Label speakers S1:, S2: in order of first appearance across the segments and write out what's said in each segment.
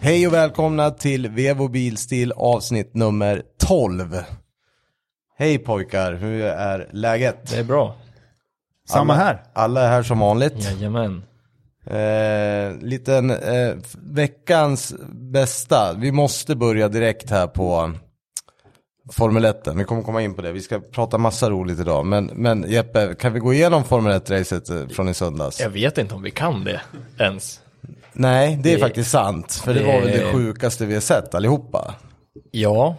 S1: Hej och välkomna till Vevo Bilstil avsnitt nummer 12. Hej pojkar, hur är läget?
S2: Det är bra. Samma
S1: alla,
S2: här.
S1: Alla är här som vanligt.
S2: Jajamän.
S1: Eh, liten eh, f- veckans bästa. Vi måste börja direkt här på um, Formel 1. Vi kommer komma in på det. Vi ska prata massa roligt idag. Men, men Jeppe, kan vi gå igenom Formel 1-racet eh, från i söndags?
S2: Jag vet inte om vi kan det ens.
S1: Nej, det är
S2: Det-
S1: faktiskt sant. För det var väl det
S2: det-
S1: sjukaste vi har sett allihopa.
S2: Ja,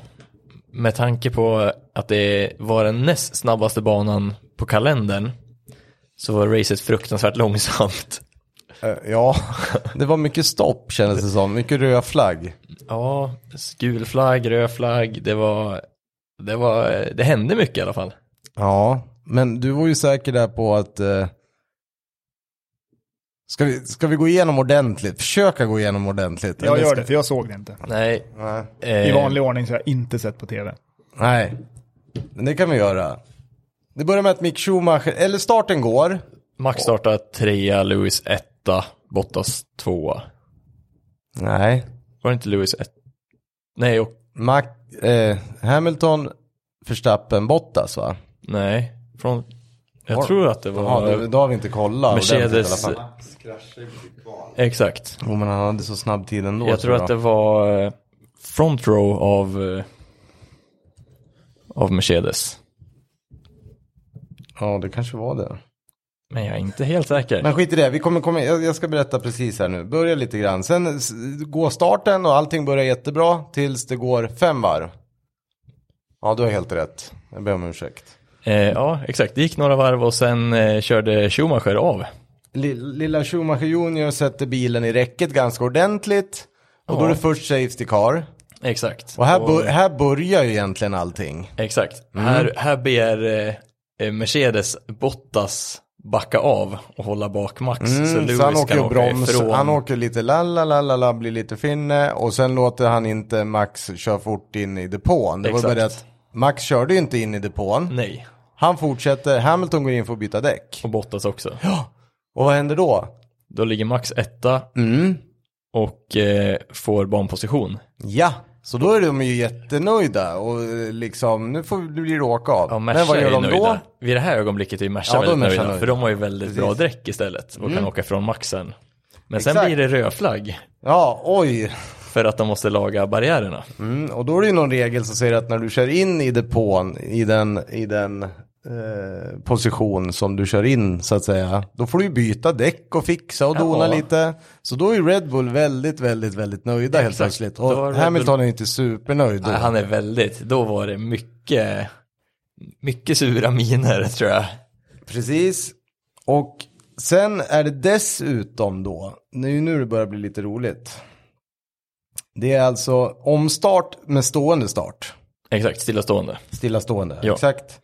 S2: med tanke på att det var den näst snabbaste banan på kalendern så var racet fruktansvärt långsamt.
S1: Eh, Ja, det var mycket stopp kändes det som. Mycket röd flagg.
S2: Ja, gul flagg, röd flagg, det var, det var, det hände mycket i alla fall.
S1: Ja, men du var ju säker där på att... Eh... Ska, vi, ska vi gå igenom ordentligt? Försöka gå igenom ordentligt?
S3: Jag
S1: Eller
S3: gör
S1: ska...
S3: det, för jag såg det inte.
S2: Nej,
S1: Nej.
S2: eh,
S3: I vanlig ordning så har jag inte sett på tv.
S1: Nej, men det kan vi göra. Det börjar med att Mick Schumacher, eller starten går.
S2: Max startade trea, Lewis etta, Bottas tvåa.
S1: Nej.
S2: Var det inte Lewis ett? Nej, och
S1: Mac, eh, Hamilton, Verstappen, Bottas va?
S2: nej, från, jag
S1: Var-
S2: tror att det
S1: Ja,
S2: var...
S1: det, då har vi inte kollat ordentligt
S2: Mercedes.
S1: i alla fall.
S2: Exakt.
S1: Jo, men han hade så snabb tid ändå.
S2: jag tror att det var eh, front row av, eh, av Mercedes.
S1: Ja, det kanske var det.
S2: Men jag är inte helt säker.
S1: Men skit i det, vi kommer komma, jag, jag ska berätta precis här nu. Börja lite grann. Sen s- går starten och allting börjar jättebra tills det går fem varv. Ja, du har helt rätt. Jag ber om ursäkt.
S2: Eh, ja, exakt. Det gick några varv och sen eh, körde Schumacher av.
S1: Lill- Lilla Schumacher Junior sätter bilen i räcket ganska ordentligt. Och då är det först safety car.
S2: Exakt.
S1: Och här, bör, Mm. här börjar ju egentligen allting.
S2: Exakt. Här, här ber eh, eh, Mercedes Bottas backa av och hålla bak Max. så
S1: Mm,
S2: Lewis
S1: så han åker
S2: kan
S1: ju
S2: åka
S1: broms,
S2: ifrån.
S1: han åker lite la la la la la, blir lite finne och sen låter han inte Max köra fort in i depån. Det var bara
S2: Exakt.
S1: det att Max körde ju inte in i depån.
S2: Nej,
S1: Han fortsätter, Hamilton går in för att byta däck.
S2: och Bottas också.
S1: Och vad händer då?
S2: Då ligger Max etta
S1: Mm.
S2: och eh, får banposition.
S1: Ja, så då är de ju jättenöjda och eh, liksom, nu, får, nu blir det åka av.
S2: Ja,
S1: Men
S2: Merca
S1: vad gör
S2: är
S1: de
S2: nöjda.
S1: då?
S2: Vid det här ögonblicket är ju Merca
S1: Ja, då är
S2: väldigt
S1: Merca
S2: nöjda,
S1: nöjda.
S2: för de har ju väldigt bra
S1: Precis. Mm.
S2: däck istället och kan åka från maxen. Men sen
S1: Exakt.
S2: blir det rödflagg
S1: Ja, oj.
S2: för att de måste laga barriärerna.
S1: Mm, och då är det ju någon regel som säger att när du kör in i depån i den, i den eh, position som du kör in så att säga. Då får du ju byta däck och fixa och dona
S2: Ja.
S1: lite. Så då är ju Red Bull väldigt, väldigt, väldigt nöjda helt
S2: Exakt.
S1: plötsligt.
S2: Då var
S1: Och
S2: Red
S1: Hamilton är ju inte supernöjd då.
S2: Nej, han är väldigt, då var det mycket, mycket sura miner tror jag.
S1: Precis. Och sen är det dessutom då, det är ju nu det börjar bli lite roligt. Det är alltså omstart med stående start.
S2: Exakt, stillastående.
S1: Stillastående,
S2: Ja.
S1: exakt.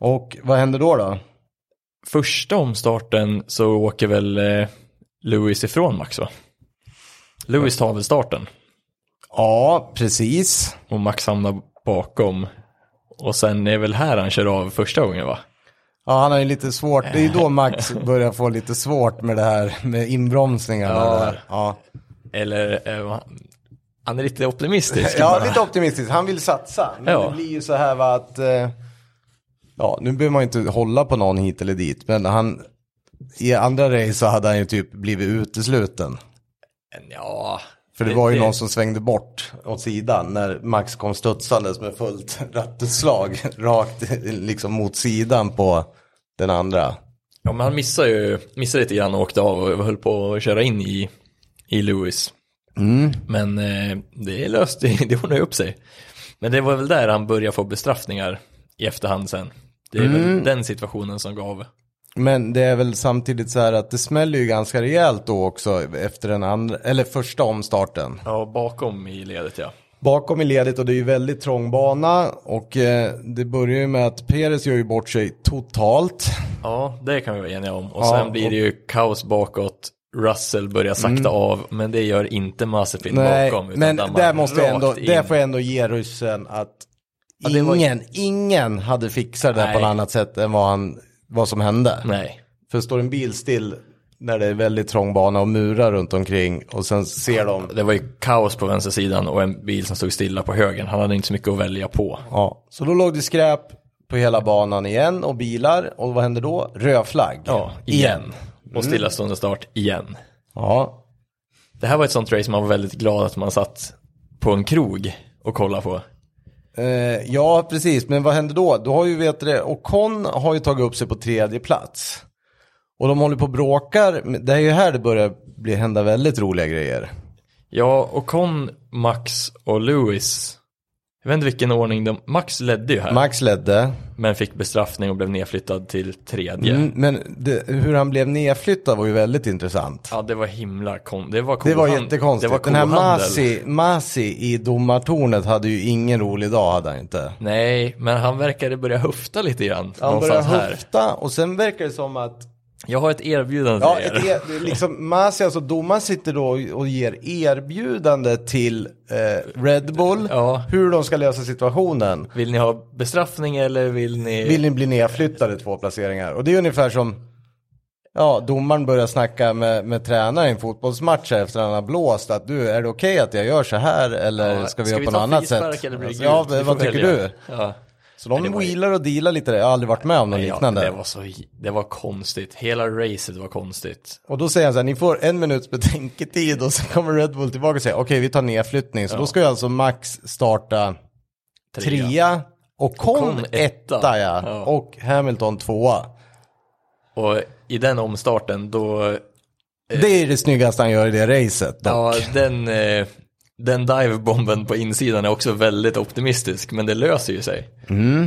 S1: Och vad händer då då?
S2: Första omstarten så åker väl eh, Lewis ifrån Max va? Lewis tar väl starten
S1: Ja, precis.
S2: och Max hamnar bakom. Och sen är väl här han kör av första gången va?
S1: Ja, han har ju lite svårt. Det är ju då Max börjar få lite svårt med det här med inbromsningarna.
S2: Ja.
S1: och det där. ja.
S2: Eller eh, han är lite optimistisk.
S1: ja lite optimistiskt. Han vill satsa. Men
S2: Ja.
S1: det blir ju så här va att... eh, Ja, nu behöver man ju inte hålla på någon hit eller dit. Men han... I andra race så hade han ju typ blivit utesluten.
S2: Ja.
S1: För det, var ju någon som svängde bort åt sidan när Max kom studsandes med fullt rattutslag rakt liksom mot sidan på den andra.
S2: Ja, men han missade ju missade lite grann och åkte av och höll på att köra in i, i Lewis.
S1: Mm.
S2: Men eh, det löste det ordnade ju upp sig. Men det var väl där han började få bestraffningar i efterhand sen. Det är
S1: Mm.
S2: väl den situationen som gav.
S1: Men det är väl samtidigt så här att det smäller ju ganska rejält då också efter den andra, eller första omstarten.
S2: Ja, bakom i ledet ja.
S1: Bakom i ledet och det är ju väldigt trång bana och eh, det börjar ju med att Perez gör ju bort sig totalt.
S2: Ja, det kan vi vara eniga om. Och
S1: Ja,
S2: sen blir det ju kaos bakåt. Russell börjar sakta av, men det gör inte Mazepin
S1: Mm. Nej,
S2: bakom. utan
S1: men
S2: dammar
S1: där måste jag
S2: rakt
S1: ändå,
S2: in.
S1: där får jag ändå ge ryssen att
S2: det var-
S1: ingen, ingen hade fixat det där
S2: Nej.
S1: på något annat sätt än vad han, vad som hände.
S2: Nej.
S1: För står en bil still när det är väldigt trång bana och murar runt omkring och sen ser de.
S2: Det var ju kaos på vänstersidan och en bil som stod stilla på högen. Han hade inte så mycket att välja på.
S1: Ja. Så då låg det skräp på hela banan igen och bilar och vad hände då? Röd flagg.
S2: Ja, igen. Och
S1: Mm.
S2: stillastående start igen.
S1: Ja.
S2: Det här var ett sånt race man var väldigt glad att man satt på en krog och kollade på.
S1: Eh, ja, precis. Men vad hände då? Då har ju, vet du det, Ocon har ju tagit upp sig på tredje plats. Och de håller på och bråkar. Men Det är ju här det börjar bli, hända väldigt roliga grejer.
S2: Ja, och Con, Max och Lewis. Jag vet inte vilken ordning de... Max ledde ju här,
S1: Max ledde.
S2: men fick bestraffning och blev nedflyttad till tredje.
S1: Mm, men det, hur han blev nedflyttad var ju väldigt intressant.
S2: Ja, det var himla kon... Det var,
S1: Det var
S2: kohan-
S1: jättekonstigt.
S2: Det var
S1: Den här
S2: kohandel.
S1: Masi, Masi i domartornet hade ju ingen rolig dag, hade han inte.
S2: Nej, men han verkade börja höfta lite grann.
S1: Han började
S2: någonstans här.
S1: höfta och sen verkar det som att
S2: Jag har ett erbjudande
S1: Ja,
S2: till
S1: ett
S2: er.
S1: er, det är liksom, Masi, alltså domaren sitter då och- och ger erbjudande till eh, Red Bull
S2: Ja.
S1: hur de ska lösa situationen.
S2: Vill ni ha bestraffning eller vill ni...
S1: Vill ni bli nedflyttade två placeringar? Och det är ungefär som ja, domaren börjar snacka med, med tränaren i en fotbollsmatch här efter han har blåst att du, är det okej att jag gör så här eller
S2: Ja,
S1: ska vi göra
S2: vi
S1: på
S2: ta
S1: något annat
S2: frispark
S1: sätt?
S2: Eller blir det
S1: ja,
S2: gult? Vi
S1: vad
S2: får
S1: tycker
S2: välja.
S1: du?
S2: Ja.
S1: Så de
S2: det var ju-
S1: wheelar och dealar lite där, jag har aldrig varit med om något liknande.
S2: Ja, det, var så, det var konstigt, hela racet var konstigt.
S1: Och då säger han så här, ni får en minuts betänketid och sen kommer Red Bull tillbaka och säger okej vi tar nedflyttning. Så då ska ju alltså Max starta trea, och Con,
S2: Con
S1: etta,
S2: etta.
S1: ja.
S2: Ja.
S1: och Hamilton tvåa.
S2: Och i den omstarten då,
S1: Det är det snyggaste han gör i det racet dock.
S2: ja den, eh, den divebomben på insidan är också väldigt optimistisk, men det löser ju sig.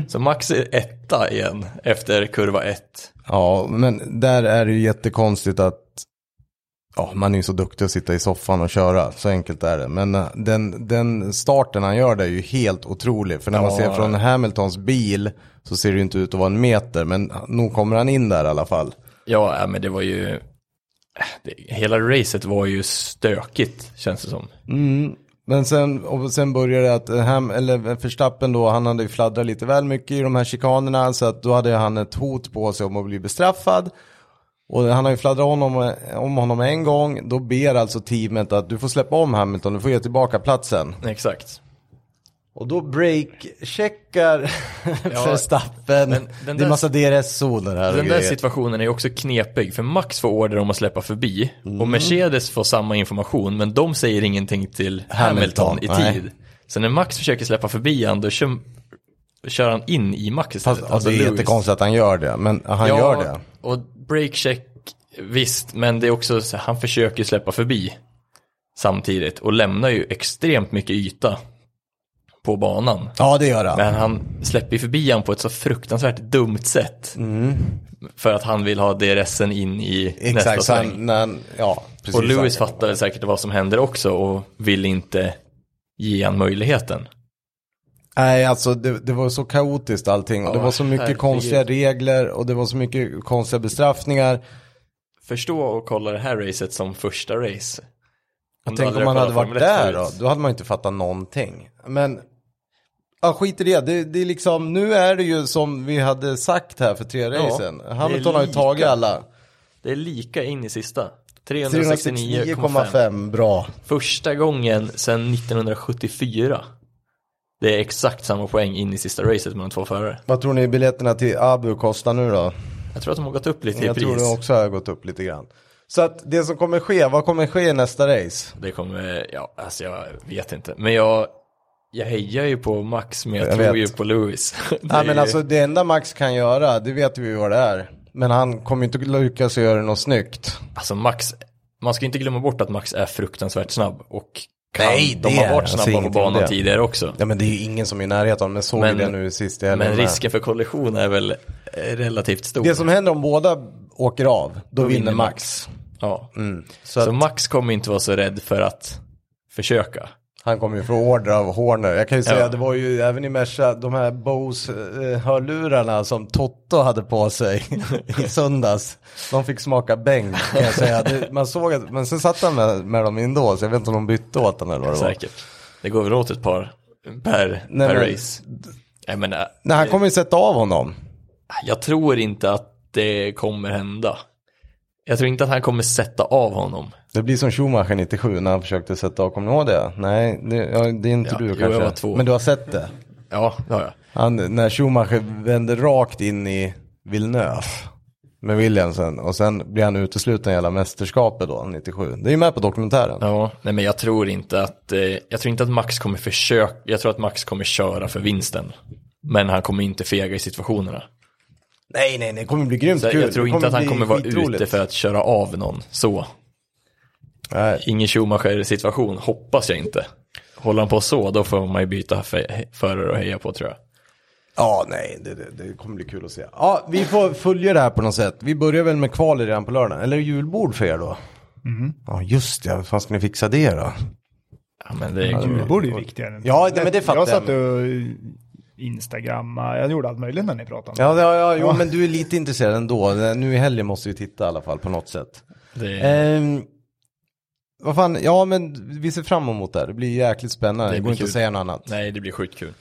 S2: Så Max är etta igen efter kurva ett.
S1: Ja, men där är det ju jättekonstigt att ja, man är ju så duktig att sitta i soffan och köra. Så enkelt är det. Men eh, den, den starten han gör där är ju helt otrolig. För när man
S2: Ja.
S1: ser från Hamiltons bil så ser det ju inte ut att vara en meter. Men nog kommer han in där i alla fall.
S2: Ja, äh, men det var ju, äh, det, hela racet var ju stökigt känns det som.
S1: Men sen, och sen började det att eh, Ham, eller Verstappen då, han hade ju fladdrat lite väl mycket i de här chikanerna. Så att då hade han ett hot på sig om att bli bestraffad. Och han har ju fladdrat honom, om honom en gång. Då ber alltså teamet att du får släppa om Hamilton, du får ge tillbaka platsen.
S2: Mm. Exakt.
S1: Och då breakcheckar Verstappen.
S2: men den
S1: det är
S2: där-
S1: massa DRS-zoner här och
S2: Den där
S1: grejer.
S2: situationen är också knepig, för Max får order om att släppa förbi och Mercedes får samma information, men de säger ingenting till Hamilton,
S1: Hamilton,
S2: i
S1: nej.
S2: tid. Så när Max försöker släppa förbi han, då kör, kör han in i Max istället.
S1: Fast, alltså, det är
S2: Lewis.
S1: jättekonstigt att han gör det, men han
S2: Ja,
S1: gör det.
S2: och breakcheck, visst, men det är också så här, han försöker släppa förbi samtidigt och lämnar ju extremt mycket yta på banan.
S1: Ja, det gör han.
S2: Men han släpper ju förbi han på ett så fruktansvärt dumt sätt. För att han vill ha DRSen in i nästa
S1: Exakt, så
S2: sväng.
S1: han, när han, ja, precis.
S2: Och Lewis
S1: han-
S2: fattar väl säkert vad som händer också och vill inte ge han möjligheten.
S1: Nej, alltså det, det var så kaotiskt allting. Och det
S2: Ja,
S1: var så mycket
S2: herregud.
S1: konstiga regler och det var så mycket konstiga bestraffningar.
S2: Förstå och kolla det här racet som första race. Om du
S1: Tänk om
S2: aldrig
S1: man
S2: har
S1: hade
S2: kollat
S1: varit
S2: Formel 1
S1: där då.
S2: förut.
S1: Då hade man inte fattat någonting. Men, ja skit i det. det. Det är liksom, nu är det ju som vi hade sagt här för tre racen.
S2: det är
S1: Hamilton har ju
S2: lika.
S1: tagit alla.
S2: Det är lika in i sista. 369,5.
S1: 369,5, bra.
S2: Första gången sedan 1974. Det är exakt samma poäng in i sista racet mellan två förare.
S1: Vad tror ni biljetterna till Abu kostar nu då?
S2: Jag tror att de har gått upp lite i
S1: Jag
S2: pris.
S1: tror det också har gått upp lite grann. Så att det som kommer ske, vad kommer ske i nästa race?
S2: Det kommer, ja, alltså jag vet inte. Men jag, jag hejar ju på Max, men jag,
S1: Jag
S2: tror
S1: vet.
S2: ju på Lewis. Det är
S1: Nej
S2: ju-
S1: men alltså det enda Max kan göra, det vet vi ju vad det är. Men han kommer ju inte lyckas göra något snyggt.
S2: alltså Max, man ska ju inte glömma bort att Max är fruktansvärt snabb. Och kan,
S1: Nej,
S2: de
S1: det är-
S2: har varit
S1: jag
S2: snabba
S1: säger
S2: på
S1: ingenting om
S2: banan
S1: det.
S2: tidigare också.
S1: Ja men det är ju ingen som är i närheten av men såg
S2: Men-
S1: men, det nu sist i helgen med.
S2: Men risken för kollision är väl eh, relativt stor.
S1: Det som händer om båda åker av, då, vinner
S2: vinner
S1: Max.
S2: ja.
S1: Mm. Så,
S2: så
S1: att
S2: Max kommer inte vara så rädd för att försöka.
S1: han kommer ju få order av Horner. Jag kan ju säga,
S2: Ja.
S1: det var ju även i Merca, de här Bose-hörlurarna som Totto hade på sig i söndags. De fick smaka bänk kan jag säga. Det, man såg att, men sen satt han med, med dem ändå, så jag vet inte om de bytte åt honom eller vad det var.
S2: Säkert. Det går väl åt ett par per,
S1: Nej,
S2: per
S1: men-
S2: race. Jag menar,
S1: Nej, han kommer ju sätta av honom.
S2: Jag tror inte att det kommer hända. Jag tror inte att han kommer sätta av honom.
S1: Det blir som Schumacher 97 när han försökte sätta av, kommer ni ihåg det? Nej, det, ja, det är inte
S2: Ja,
S1: du
S2: jo,
S1: kanske.
S2: jag var två.
S1: Men du har sett det?
S2: Ja, det har jag.
S1: Han, när Schumacher vände rakt in i Villeneuve med Williamsen och sen blir han utesluten i hela mästerskapet då, 97. Det är ju med på dokumentären.
S2: Ja, nej men jag tror inte att, eh, jag tror inte att Max kommer försöka, jag tror att Max kommer köra för vinsten. Men han kommer inte fega i situationerna.
S1: Nej, nej, nej, det kommer bli grymt
S2: Så jag-
S1: kul.
S2: jag tror
S1: Det
S2: inte att han
S1: bli
S2: kommer vara
S1: skitroligt.
S2: ute för att köra av någon, så.
S1: Nej.
S2: Ingen Schumacher-situation, hoppas jag inte. Håller han på så, då får man ju byta fe- förare och heja på tror jag.
S1: Ja, nej, det, det, det kommer bli kul att se. Ja, vi får följa det här på något sätt. Vi börjar väl med kvalet redan på lördagen. Eller julbord för er då? Ja, just det. Hur fan ska ni fixa det då?
S2: Ja, men det är kul.
S3: Julbord är ju viktigare. än-
S1: Ja, nej, men det fattar
S3: jag.
S1: jag.
S3: satt och instagramma, jag gjorde allt möjligt när ni pratade om det.
S1: Ja, ja, ja, jo, men du är lite intresserad ändå. Nu i helgen måste vi titta i alla fall på något sätt.
S2: Det är,
S1: Ehm, vad fan, ja men vi ser fram emot det här. Det blir jäkligt spännande.
S2: Det
S1: Det,
S2: blir
S1: går inte
S2: kul.
S1: att säga något annat.
S2: nej, det blir sjukt kul.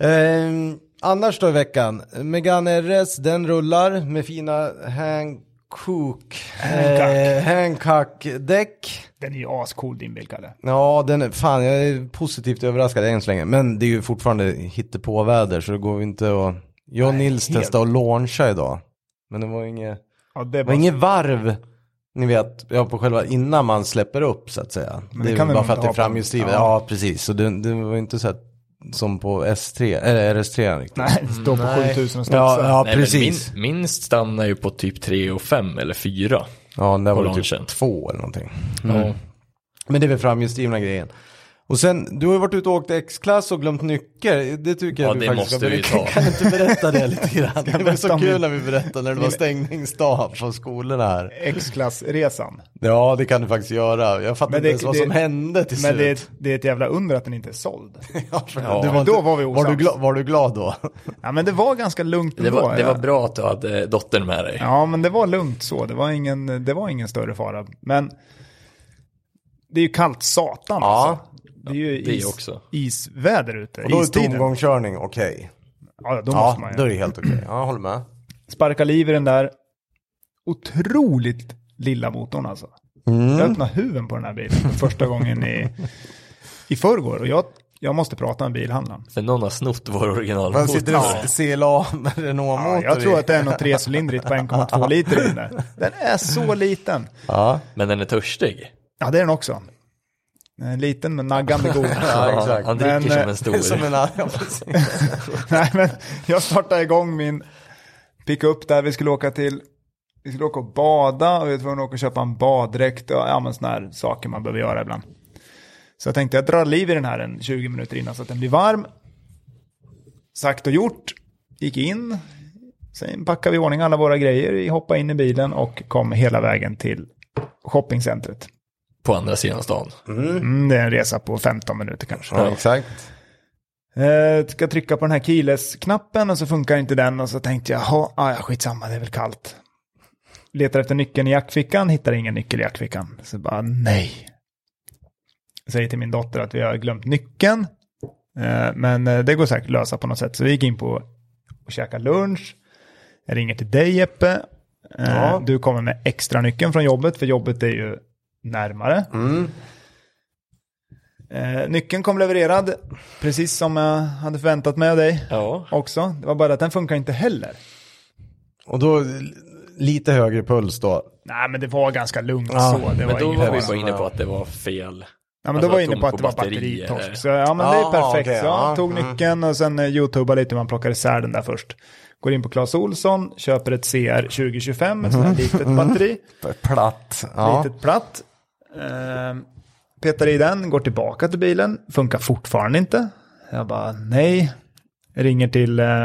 S1: Ehm, annars då i veckan, Megane RS den rullar med fina Hankook eh, Hancock-däck.
S3: Den är ju ascool din bil Kalle.
S1: Ja, den är, fan jag är positivt överraskad än så länge. Men det är ju fortfarande hittepåväder så det går ju inte att... Jag och Nils
S3: helt.
S1: testade att launcha idag. Men det var inget...
S3: Ja, det
S1: Det var
S3: var
S1: inget varv, ni vet, ja, på själva innan man släpper upp så att säga.
S3: Men
S1: det
S3: det
S1: är
S3: kan
S1: väl
S3: väl
S1: bara
S3: man
S1: för att
S3: inte
S1: det är
S3: ha på en-
S1: framhjulsdrivet. Ja.
S3: ja.
S1: precis. Så det, det var inte så här som på S3, eller RS3 riktigt.
S3: Nej, står på
S2: Nej.
S3: 7000 och
S1: ja,
S3: studsar.
S1: ja
S2: Nej, men
S1: precis.
S2: Min, minst stannar ju på typ 3 och 5 eller 4.
S1: Ja, den där
S2: på
S1: var det
S2: launchen.
S1: typ två eller någonting. Mm.
S2: Ja.
S1: Men det är väl framhjulsdrivna grejen. Och sen, du har ju varit ute och åkt X-klass och glömt nyckel. Det tycker jag
S2: Ja,
S1: du
S2: det
S1: faktiskt
S2: måste vi
S1: berätta.
S2: ta.
S1: Kan du inte berätta det lite grann? Det var
S3: berätta
S1: så
S3: om
S1: kul
S3: min-
S1: när vi berättade när det var stängningsdag på skolorna här.
S3: X-klassresan.
S1: Ja, det kan du faktiskt göra. Jag fattar
S3: Men
S1: inte
S3: det-
S1: ens vad
S3: det-
S1: som hände till
S3: Men
S1: slut.
S3: det är, ett, det är ett jävla under att den inte är såld.
S1: Ja, för
S2: Ja,
S1: du
S2: men
S1: inte-
S3: då var vi
S1: var du,
S3: osams.
S1: glad, var du glad då?
S3: Ja, men det var ganska lugnt
S2: Det,
S3: ändå,
S2: var, det
S3: ja.
S2: var bra att du hade dottern med dig.
S3: Ja, men det var lugnt så. Det var ingen, det var ingen större fara. Men det är ju kallt satan
S1: Ja.
S3: alltså. Det är ju
S2: det är
S3: is,
S2: också.
S3: isväder ute.
S1: Då är
S3: Istiden. Ja,
S1: tomgångskörning okej.
S3: ja, då måste
S1: Ja,
S3: man
S1: då är
S3: ju.
S1: det helt okej. Ja, jag håller med.
S3: Sparka liv i den där otroligt lilla motorn alltså. Jag öppnade huven på den här bilen för första gången i, i förrgår. Och jag, jag måste prata med bilhandlaren.
S2: För någon har snott vår
S1: Man sitter och
S2: originalmotor.
S1: CLA med Renault-motor
S3: Ja, jag tror
S1: i.
S3: att det är något trecylindrigt på 1,2 liter i den där. Den är så liten.
S1: Ja,
S2: Men den är törstig.
S3: Ja, det är den också. Eh, Liten men naggande god.
S1: ja exakt.
S2: Han dricker
S3: Men,
S2: som
S1: Det
S2: en
S3: eh,
S1: är som
S2: stor.
S1: en ja, precis.
S3: Nej, men jag startade igång min pickup där vi skulle åka till. Vi skulle åka och bada och vi var tvungna att åka och köpa en baddräkt och ja, men sådana här saker man behöver göra ibland. Så jag tänkte jag drar liv i den här en 20 minuter innan så att den blir varm. Sagt och gjort, gick in. Sen packade vi i ordning alla våra grejer, vi hoppade in i bilen och kom hela vägen till shoppingcentret.
S2: På andra sidan stan.
S3: Mm, det är en resa på 15 minuter kanske.
S1: ja, exakt.
S3: Eh, ska trycka på den här keyless-knappen och så funkar inte den och så tänkte jag, jaha, ah, ja, skitsamma, det är väl kallt. Letar efter nyckeln i jackfickan, hittar ingen nyckel i jackfickan. Så bara, nej. Säger till min dotter att vi har glömt nyckeln. Eh, men eh, det går säkert att lösa på något sätt. Så vi gick in på och käkade lunch. Jag ringer till dig Jeppe. Eh,
S1: Ja.
S3: Du kommer med extra nyckeln från jobbet, för jobbet är ju närmare.
S1: Mm.
S3: Eh, nyckeln kom levererad, precis som jag hade förväntat mig av dig
S2: Ja.
S3: också. Det var bara att den funkar inte heller.
S1: Och då lite högre puls då.
S3: Nej, men det var ganska lugnt
S1: Ja,
S3: så. Det
S2: Men
S3: var
S2: då
S3: ingen
S2: var vi
S3: fara.
S2: bara inne på att det var fel.
S3: Ja, men
S2: alltså
S3: då var
S2: att
S3: jag inne
S2: de
S3: på att
S2: på
S3: det var
S2: batterier.
S3: batteritorsk. Så ja, men det är
S1: Ah,
S3: perfekt.
S1: okej,
S3: så jag
S1: ja. Mm.
S3: tog nyckeln och sen eh, youtubade lite hur man plockar isär den där först. Går in på Clas Olsson, köper ett CR 2025, ett sånt här litet batteri.
S1: Platt. Mm. Ja.
S3: Litet platt. Ehm, petar i den, går tillbaka till bilen, funkar fortfarande inte. Jag bara nej. Ringer till eh,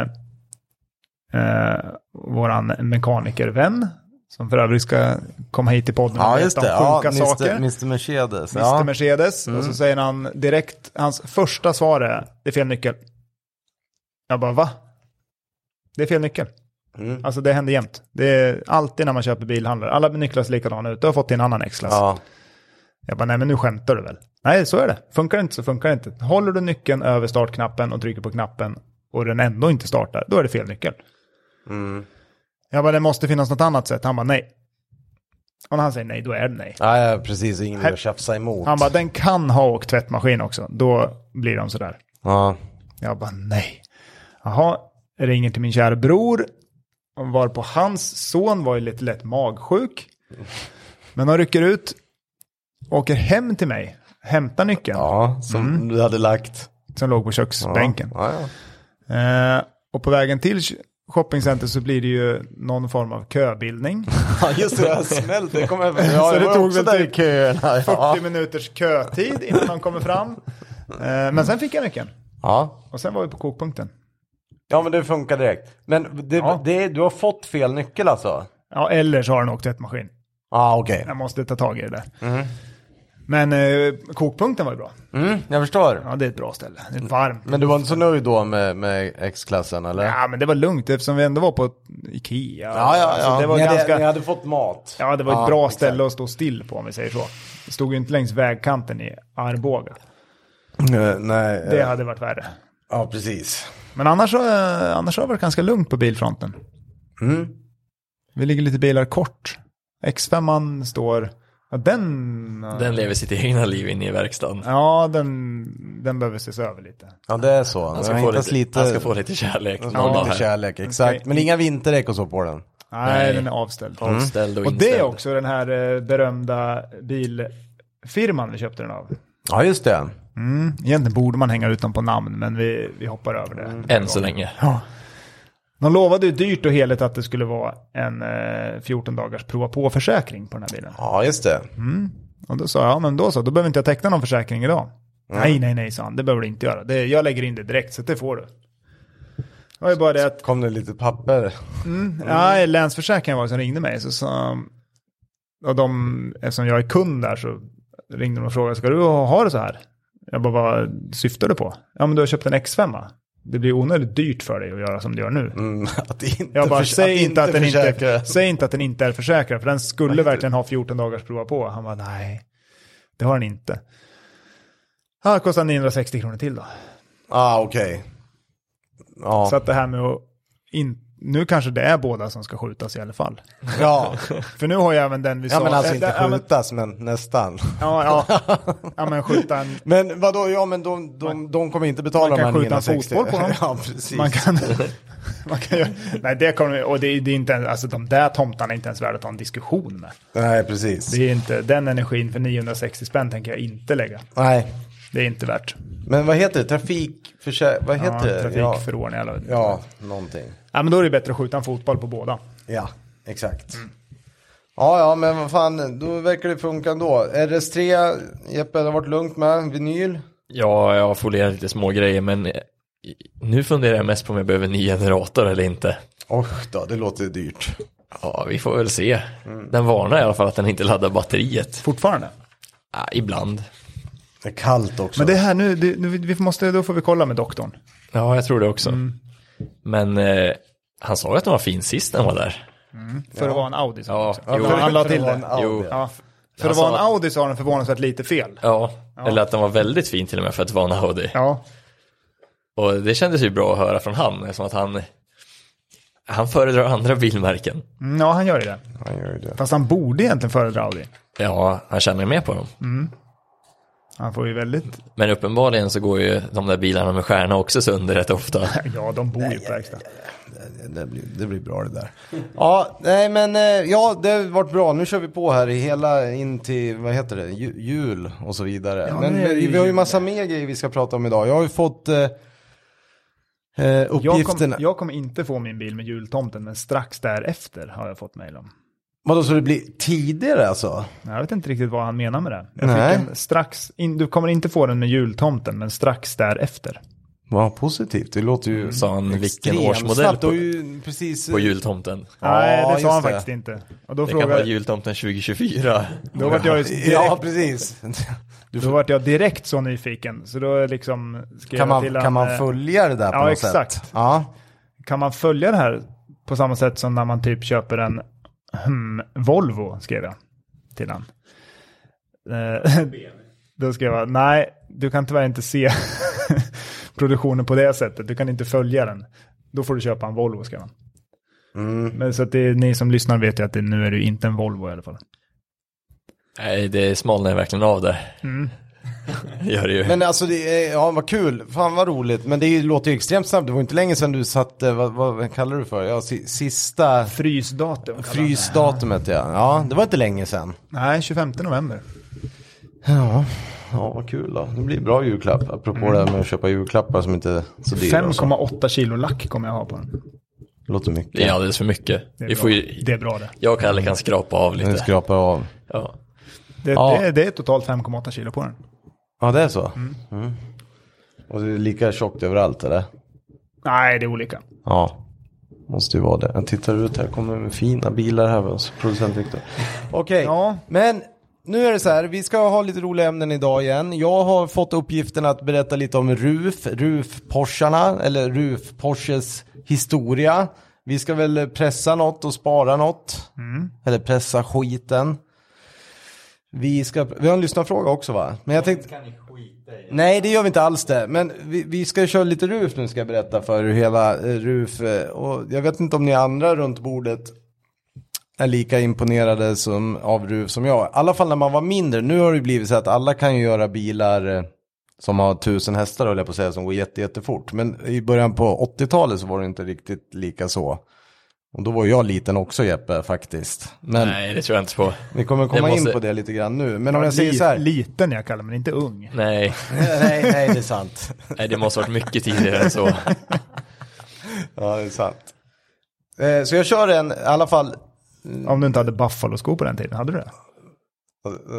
S3: eh, våran mekanikervän. Som för övrigt ska komma hit till podden och
S1: Ja,
S3: berätta
S1: just det.
S3: om
S1: Ja,
S3: sjuka
S1: Mr.
S3: saker.
S1: Mr. Mercedes.
S3: Mr.
S1: Ja. Mm.
S3: Mercedes. Och så säger han direkt, hans första svar är, det är fel nyckel. Jag bara, va? Det är fel nyckel.
S1: Mm.
S3: Alltså det händer jämt. Det är alltid när man köper bilhandlar. Alla nycklar ser likadana ut. Du har fått din annan X-klass.
S1: Ja.
S3: Jag bara, nej men nu skämtar du väl? Nej, så är det. Funkar det inte så funkar det inte. Håller du nyckeln över startknappen och trycker på knappen och den ändå inte startar, då är det fel nyckel.
S1: Mm.
S3: Jag bara, det måste finnas något annat sätt. Han bara, nej. Och när han säger nej, då är det nej.
S1: Ja, ja, precis. Ingen
S3: Här-
S1: att tjafsa emot.
S3: Han bara, den kan ha och tvättmaskin också. Då blir de sådär.
S1: Ja.
S3: Jag bara, nej. Jaha, ringer till min kära bror. Varpå hans son var ju lite lätt magsjuk. Men han rycker ut, åker hem till mig, hämtar nyckeln
S1: ja, som du hade lagt.
S3: som låg på köksbänken.
S1: Ja, ja.
S3: Eh, och på vägen till shoppingcenter så blir det ju någon form av köbildning.
S1: ja, just det. Det här smälte. Det kom över. Ja,
S3: Så
S1: jag
S3: det
S1: var
S3: tog
S1: också där
S3: väl typ
S1: i köerna.
S3: 40
S1: Ja.
S3: minuters kötid innan han kommer fram. Eh, men sen fick jag nyckeln.
S1: ja.
S3: Och sen var vi på kokpunkten.
S1: Ja, men det funkar direkt. Men det,
S3: Ja.
S1: det, du har fått fel nyckel alltså?
S3: Ja, eller så har han åkt tvättmaskin.
S1: Ja, ah, okej.
S3: Jag måste ta tag i det där.
S1: Mm-hmm.
S3: Men eh, kokpunkten var ju bra.
S1: Mm, jag förstår.
S3: Ja, det är ett bra ställe. Det är varmt.
S1: Men du var inte så nöjd då med, med X-klassen eller?
S3: Ja, men det var lugnt eftersom vi ändå var på Ikea.
S1: ja, ja.
S3: Alltså, det var
S1: ni, hade,
S3: ganska...
S1: ni hade fått mat.
S3: Ja, det var ett bra ställe att stå still på om vi säger så. Det stod ju inte längs vägkanten i Arboga.
S1: Eh, Nej, eh,
S3: Det hade varit värre.
S1: ja precis.
S3: Men annars, har- eh, annars har det varit ganska lugnt på bilfronten.
S1: Mm.
S3: Vi ligger lite bilar kort. X5 står... Ja, den...
S2: Den lever sitt egna liv inne i verkstaden.
S3: Ja, den, den behöver ses över lite.
S1: Ja det är så.
S2: Han
S1: Den
S2: ska,
S1: har
S2: få
S1: hittats
S2: lite,
S1: lite,
S2: han ska få lite kärlek.
S1: den ska få
S2: Någon dag
S1: lite
S2: här.
S1: kärlek. Exakt.
S3: Okej.
S1: Men inga vinterdäck och så på den.
S3: Nej,
S2: Nej.
S3: den är avställd.
S2: Avställd och
S3: Och det är
S2: inställd.
S3: också den här eh, berömda bilfirman vi köpte den av.
S1: Ja just det.
S3: Mm. Egentligen borde man hänga ut dem på namn, men vi, vi hoppar över det.
S2: Än så länge.
S3: Ja. De lovade ju dyrt och heligt att det skulle vara en eh, 14 dagars prova på-försäkring på den här bilen. Mm.
S1: Ja just det.
S3: Och då sa jag, ja men då så, då behöver inte jag teckna någon försäkring idag. Nej, nej, nej, sa han, det behöver du inte göra. Det, jag lägger in det direkt, så det får du. Det var ju bara det att
S1: Kom det lite papper? Mm.
S3: Nej, Länsförsäkringen var det som ringde mig. Så, sa och de, eftersom jag är kund där så ringde de och frågade, ska du ha det så här? Jag bara, vad syftar du på? Ja, men du har köpt en X5. va? Det blir onödigt dyrt för dig att göra som du gör nu.
S1: Mm, att inte
S3: Jag bara,
S1: förs-
S3: säg, inte att den inte,
S1: försäkra.
S3: säg inte att den inte är försäkrad, för den skulle verkligen ha 14 dagars prova på. Han bara, nej, det har den inte. Ja, det kostar 960 kronor till då.
S1: ah, okej. Ja.
S3: Så att det här med att, in, nu kanske det är båda som ska skjutas i alla fall.
S1: ja.
S3: För nu har jag även den vi
S1: Ja
S3: sa.
S1: men alltså
S3: Äh,
S1: inte
S3: där- ja, men-
S1: skjutas men nästan.
S3: Ja, ja. ja men skjuta en...
S1: Men vadå, ja men de, de, de kommer inte betala
S3: Man kan
S1: de här
S3: skjuta en
S1: 960.
S3: fotboll på dem.
S1: Ja precis.
S3: Man kan... Man kan göra, nej, det kommer Och det, är- det är inte ens... Alltså de där tomtarna är inte ens värda att ha en diskussion med.
S1: Nej precis.
S3: Det är inte... Den energin för 960 spänn tänker jag inte lägga.
S1: Nej.
S3: Det är inte värt.
S1: Men vad heter det? Trafikförsä... Vad
S3: Ja,
S1: heter det? Ja.
S3: trafikförordning eller... Ja.
S1: ja, någonting.
S3: ja, men då är det bättre att skjuta en fotboll på båda.
S1: Ja, exakt.
S3: Mm.
S1: Ja, ja, men vad fan, då verkar det funka ändå. RS3, Jeppe, det har varit lugnt med. Vinyl?
S2: Ja, jag har folierat lite små grejer men eh, nu funderar jag mest på om jag behöver en ny generator eller inte.
S1: Och då, det låter dyrt.
S2: Ja, vi får väl se. Den varnar i alla fall att den inte laddar batteriet.
S3: Fortfarande.
S2: Ja, ibland.
S1: Det är kallt också.
S3: Men det här nu, det, nu vi måste, då får vi kolla med doktorn.
S2: Ja, jag tror det också.
S3: Mm.
S2: Men eh, han sa ju att den var fin sist den var där.
S3: För att vara en Audi. sa
S2: Ja,
S3: också.
S2: jo.
S3: Ja, han la
S1: För att
S3: till
S1: vara en
S3: det.
S1: Audi.
S2: Jo.
S3: Ja. För att
S1: Alltså-
S2: Han sa
S3: vara en
S2: att-
S3: Audi så har den förvånansvärt lite fel.
S2: Ja, eller att den var väldigt fin till och med för att vara en Audi.
S3: Ja.
S2: Och det kändes ju bra att höra från han, eftersom att han, han föredrar andra bilmärken.
S3: Mm, Ja, han gör ju det.
S1: Han gör ju det.
S3: Fast han borde egentligen föredra Audi.
S2: Ja, han känner ju med på dem.
S3: Han får ju väldigt...
S2: Men uppenbarligen så går ju de där bilarna med stjärna också sönder rätt ofta.
S3: Ja, de bor ju på verkstad.
S1: Det, det, blir, det blir bra det där. Ja, nej men eh, ja, det har varit bra. Nu kör vi på här i hela in till, vad heter det, ju, jul och så vidare.
S3: Ja,
S1: men
S3: nu är det
S1: vi,
S3: ju
S1: vi har ju
S3: jul.
S1: massa mer grejer vi ska prata om idag. Jag har ju fått eh, eh,
S3: Jag kom-
S1: uppgifterna.
S3: Jag kommer inte få min bil med jultomten, men strax därefter har jag fått mejl om.
S1: Vadå, så det blir tidigare alltså?
S3: Jag vet inte riktigt vad han menar med det. Jag
S1: Nej.
S3: fick en strax, in, du kommer inte få den med jultomten, men strax därefter.
S1: Vad positivt, det låter
S3: Mm.
S1: ju
S2: Sa han vilken
S1: extremt
S2: årsmodell
S1: snabbt. Det var
S2: på,
S1: ju precis...
S2: på jultomten?
S1: Ja,
S3: Nej, det
S1: just
S3: sa han
S1: det.
S3: faktiskt inte. Och då
S2: Det kan vara
S3: frågade
S2: jultomten 2024.
S3: då vart jag, ju direkt,
S1: Ja, precis.
S3: då vart jag direkt så nyfiken, så då liksom skrev
S1: Kan
S3: jag
S1: man,
S3: till
S1: kan
S3: eh,
S1: man följa det där på
S3: ja,
S1: något
S3: exakt.
S1: sätt? Ja,
S3: kan man följa det här på samma sätt som när man typ köper en hmm, Volvo, skrev jag till han. Eh, Då skrev jag, nej, du kan tyvärr inte se produktionen på det sättet, du kan inte följa den. Då får du köpa en Mm. Volvo, skrev han. Men så att det är, ni som lyssnar vet ju att det, nu är det ju inte en Volvo i alla fall.
S2: Nej, det smalnar jag verkligen av där. Gör det ju.
S1: Mm. Men alltså, det är, ja vad kul, fan vad roligt. Men det är ju- låter ju extremt snabbt, det var inte länge sedan du satte, vad, vad kallar du för? Ja, si- sista
S3: Frysdatum. kallar han det.
S1: frysdatumet ja. Ja, det var inte länge sedan.
S3: Nej, 25 november.
S1: Ja, ja vad kul då. Det blir bra julklapp, apropå det här med att köpa julklappar som inte är så dyra. och så.
S3: 5,8 kilo lack kommer jag ha på den.
S1: Låter mycket.
S2: Det är alldeles för mycket.
S3: Det är,
S2: Vi
S3: bra.
S2: får ju,
S3: det är bra det.
S2: jag och Kalle kan skrapa av
S1: Nu
S2: lite.
S1: skrapar jag av.
S2: Ja.
S3: Det,
S1: Ja.
S3: det, det är totalt 5,8 kilo på den.
S1: Ja, det är så? Mm. Och det är lika tjockt överallt eller?
S3: Nej, det är olika.
S1: Ja. Måste ju vara det. Jag tittar ut här, kommer med fina bilar här. hos Producent Viktor. Okej,
S3: Ja.
S1: men nu är det så här. Vi ska ha lite roliga ämnen idag igen. Jag har fått uppgiften att berätta lite om RUF, RUF-Porscharna, eller RUF-Porsches historia. Vi ska väl pressa något och spara något. Eller pressa skiten. Vi, ska, vi har en lyssnarfråga också va? Men jag tänkte... Nej, det gör vi inte alls det. Men vi, vi ska köra lite RUF nu ska jag berätta för er hur hela eh, RUF. eh, Och jag vet inte om ni andra runt bordet är lika imponerade som, av RUF som jag. I alla fall när man var mindre. Nu har det blivit så att alla kan ju göra bilar eh, som har tusen hästar höll jag på att säga, som går jätte, jättefort. Men i början på 80-talet så var det inte riktigt lika så. Och då var jag liten också Jeppe faktiskt. Men
S2: Nej, det tror jag inte på.
S1: vi kommer komma
S2: måste-
S1: in på det lite grann nu. Men om jag säger
S3: Li,
S1: så här.
S3: liten jag kallar men inte ung.
S2: Nej,
S1: nej, nej, det är sant.
S2: nej det måste ha varit mycket tidigare än så.
S1: Ja, det är sant. Eh, så jag kör en, i alla fall, Mm.
S3: Om du inte hade Buffalo-skor på den tiden, hade du det?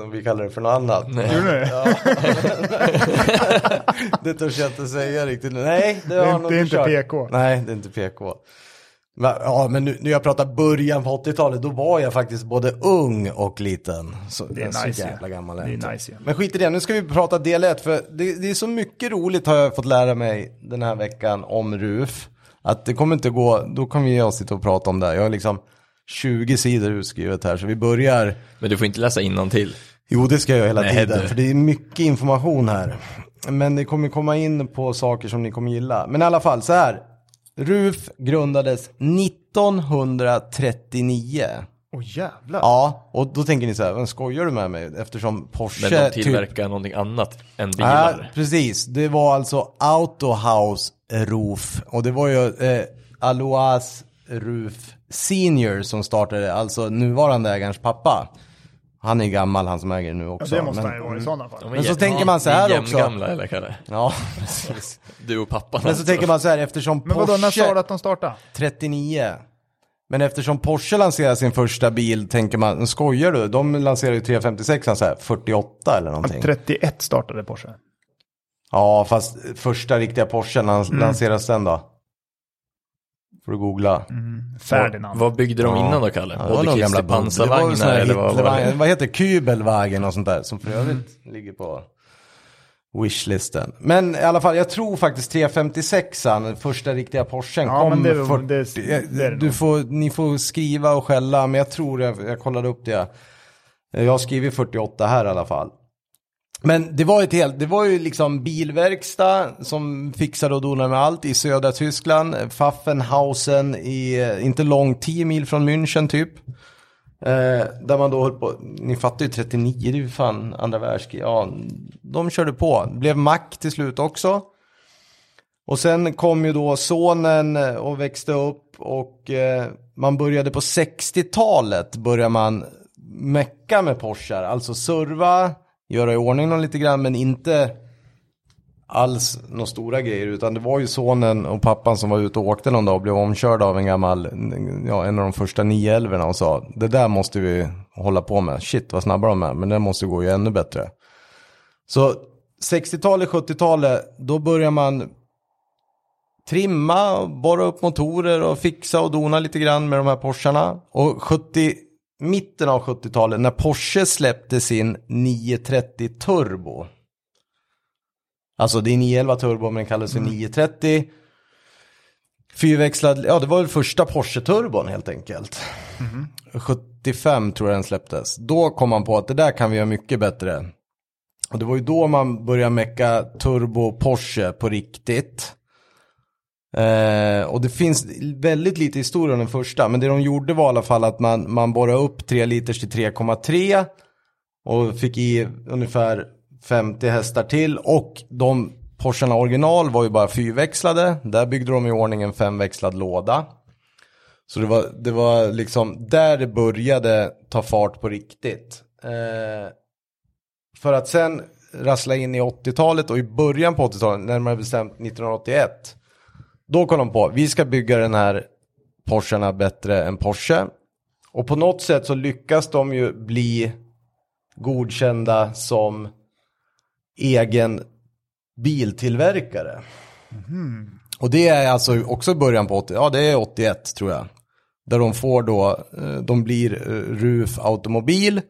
S1: eh, vi kallar det för något annat.
S2: Nej.
S3: Gjorde du det?
S1: Det törs jag inte säga riktigt. Nej, det,
S3: det
S1: har
S3: är
S1: han
S3: inte, det är inte
S1: kört.
S3: PK.
S1: Nej, det är inte PK. Men, ja, men nu när jag pratar början på 80-talet, då var jag faktiskt både ung och liten. Så, det
S3: är
S1: så
S3: nice, ja.
S1: jävla gammal
S3: Det
S1: jag
S3: är
S1: inte.
S3: nice ju.
S1: Men skit i det, nu ska vi prata del 1 för det, det är så mycket roligt har jag fått lära mig den här veckan om RUF. Att det kommer inte gå, då kommer jag sitta och prata om det här. Jag har liksom 20 sidor utskrivet här så vi börjar.
S2: Men du får inte läsa till.
S1: Jo det ska jag hela
S2: Nej,
S1: tiden
S2: du.
S1: för det är mycket information här. Men det kommer komma in på saker som ni kommer gilla. Men i alla fall så här. RUF grundades 1939.
S3: Åh jävlar.
S1: Ja, och då tänker ni så här, "Men skojar du med mig? Eftersom Porsche...
S2: Men de
S1: typ-
S2: tillverkar någonting annat än
S1: Ja,
S2: bilar.
S1: precis. Det var alltså Autohaus Roof. Och det var ju eh, Aloas Roof Senior som startade, alltså nuvarande ägarens pappa. Han är gammal, han som äger nu också.
S3: det måste
S1: men- mm.
S3: han ju vara i sådana fall.
S1: Men så tänker man så här också.
S2: gamla eller Kalle?
S1: Ja, precis.
S2: Du och pappan
S1: Men så tänker man så här, eftersom
S3: Men vadå, när sa
S1: Porsche
S3: du att de startade?
S1: 39. Men eftersom Porsche lanserar sin första bil tänker man, skojar du? De lanserar ju 356 så här, 48 eller någonting.
S3: 31 startade Porsche.
S1: Ja, fast första riktiga Porsche lans lanseras den då? Får du googla.
S3: Ferdinand.
S2: Vad byggde de innan då Kalle?
S1: Ja, det var
S2: Både
S1: nog gamla
S2: Kristi
S1: bund- det var ju såna
S2: pansarvagnar
S1: här
S2: eller vad var
S1: Hitlervagnar.
S2: det?
S1: Vad heter Kübelwagen och sånt där som för övrigt ligger på wishlisten. Men i alla fall, jag tror faktiskt 356an, den första riktiga Porschen,
S3: Ja,
S1: kom
S3: men det- det-
S1: 40.
S3: det är det
S1: du
S3: nog.
S1: får, ni får skriva och skälla, men jag tror, jag, jag kollade upp det. Jag har skrivit 48 här i alla fall. Men det var, ett helt, det var ju liksom bilverkstad som fixade och donade med allt i södra Tyskland. Pfaffenhausen i, eh, inte långt, 10 mil från München typ. Eh, där man då höll på, ni fattar ju 39, det är ju fan andra världskriget. Ja, de körde på, blev mack till slut också. Och sen kom ju då sonen eh, och växte upp och eh, man började på 60-talet började man mecka med Porschar. Alltså serva, göra i ordning dem lite grann men inte alls några stora grejer utan det var ju sonen och pappan som var ute och åkte någon dag och blev omkörd av en gammal, ja en av de första 911 och sa det där måste vi hålla på med, shit vad snabba de är men det måste gå ju ännu bättre. Så 60-talet, 70-talet då börjar man trimma, och borra upp motorer och fixa och dona lite grann med de här Porscharna. Och 70, mitten av 70-talet när Porsche släppte sin 930 Turbo. Alltså det är 911 Turbo men den kallas för 930. Fyrväxlad, ja det var väl första Porsche-turbon helt enkelt. 75 tror jag den släpptes. Då kom man på att det där kan vi göra mycket bättre. Och det var ju då man började mecka turbo Porsche på riktigt. Eh, och det finns väldigt lite historia om den första. Men det de gjorde var i alla fall att man, man borrade upp 3 liters till 3,3. Och fick i ungefär 50 hästar till. Och de Porscharna original var ju bara fyrväxlade. Där byggde de i ordning en femväxlad låda. Så det var, det var liksom där det började ta fart på riktigt. Eh, för att sen rassla in i 80-talet och i början på 80-talet, närmare bestämt 1981. Då kom de på, vi ska bygga den här Porscharna bättre än Porsche. Och på något sätt så lyckas de ju bli godkända som egen biltillverkare. Och det är alltså också början på 80, ja det är 81 tror jag. Där de får då, eh, de blir eh, RUF automobil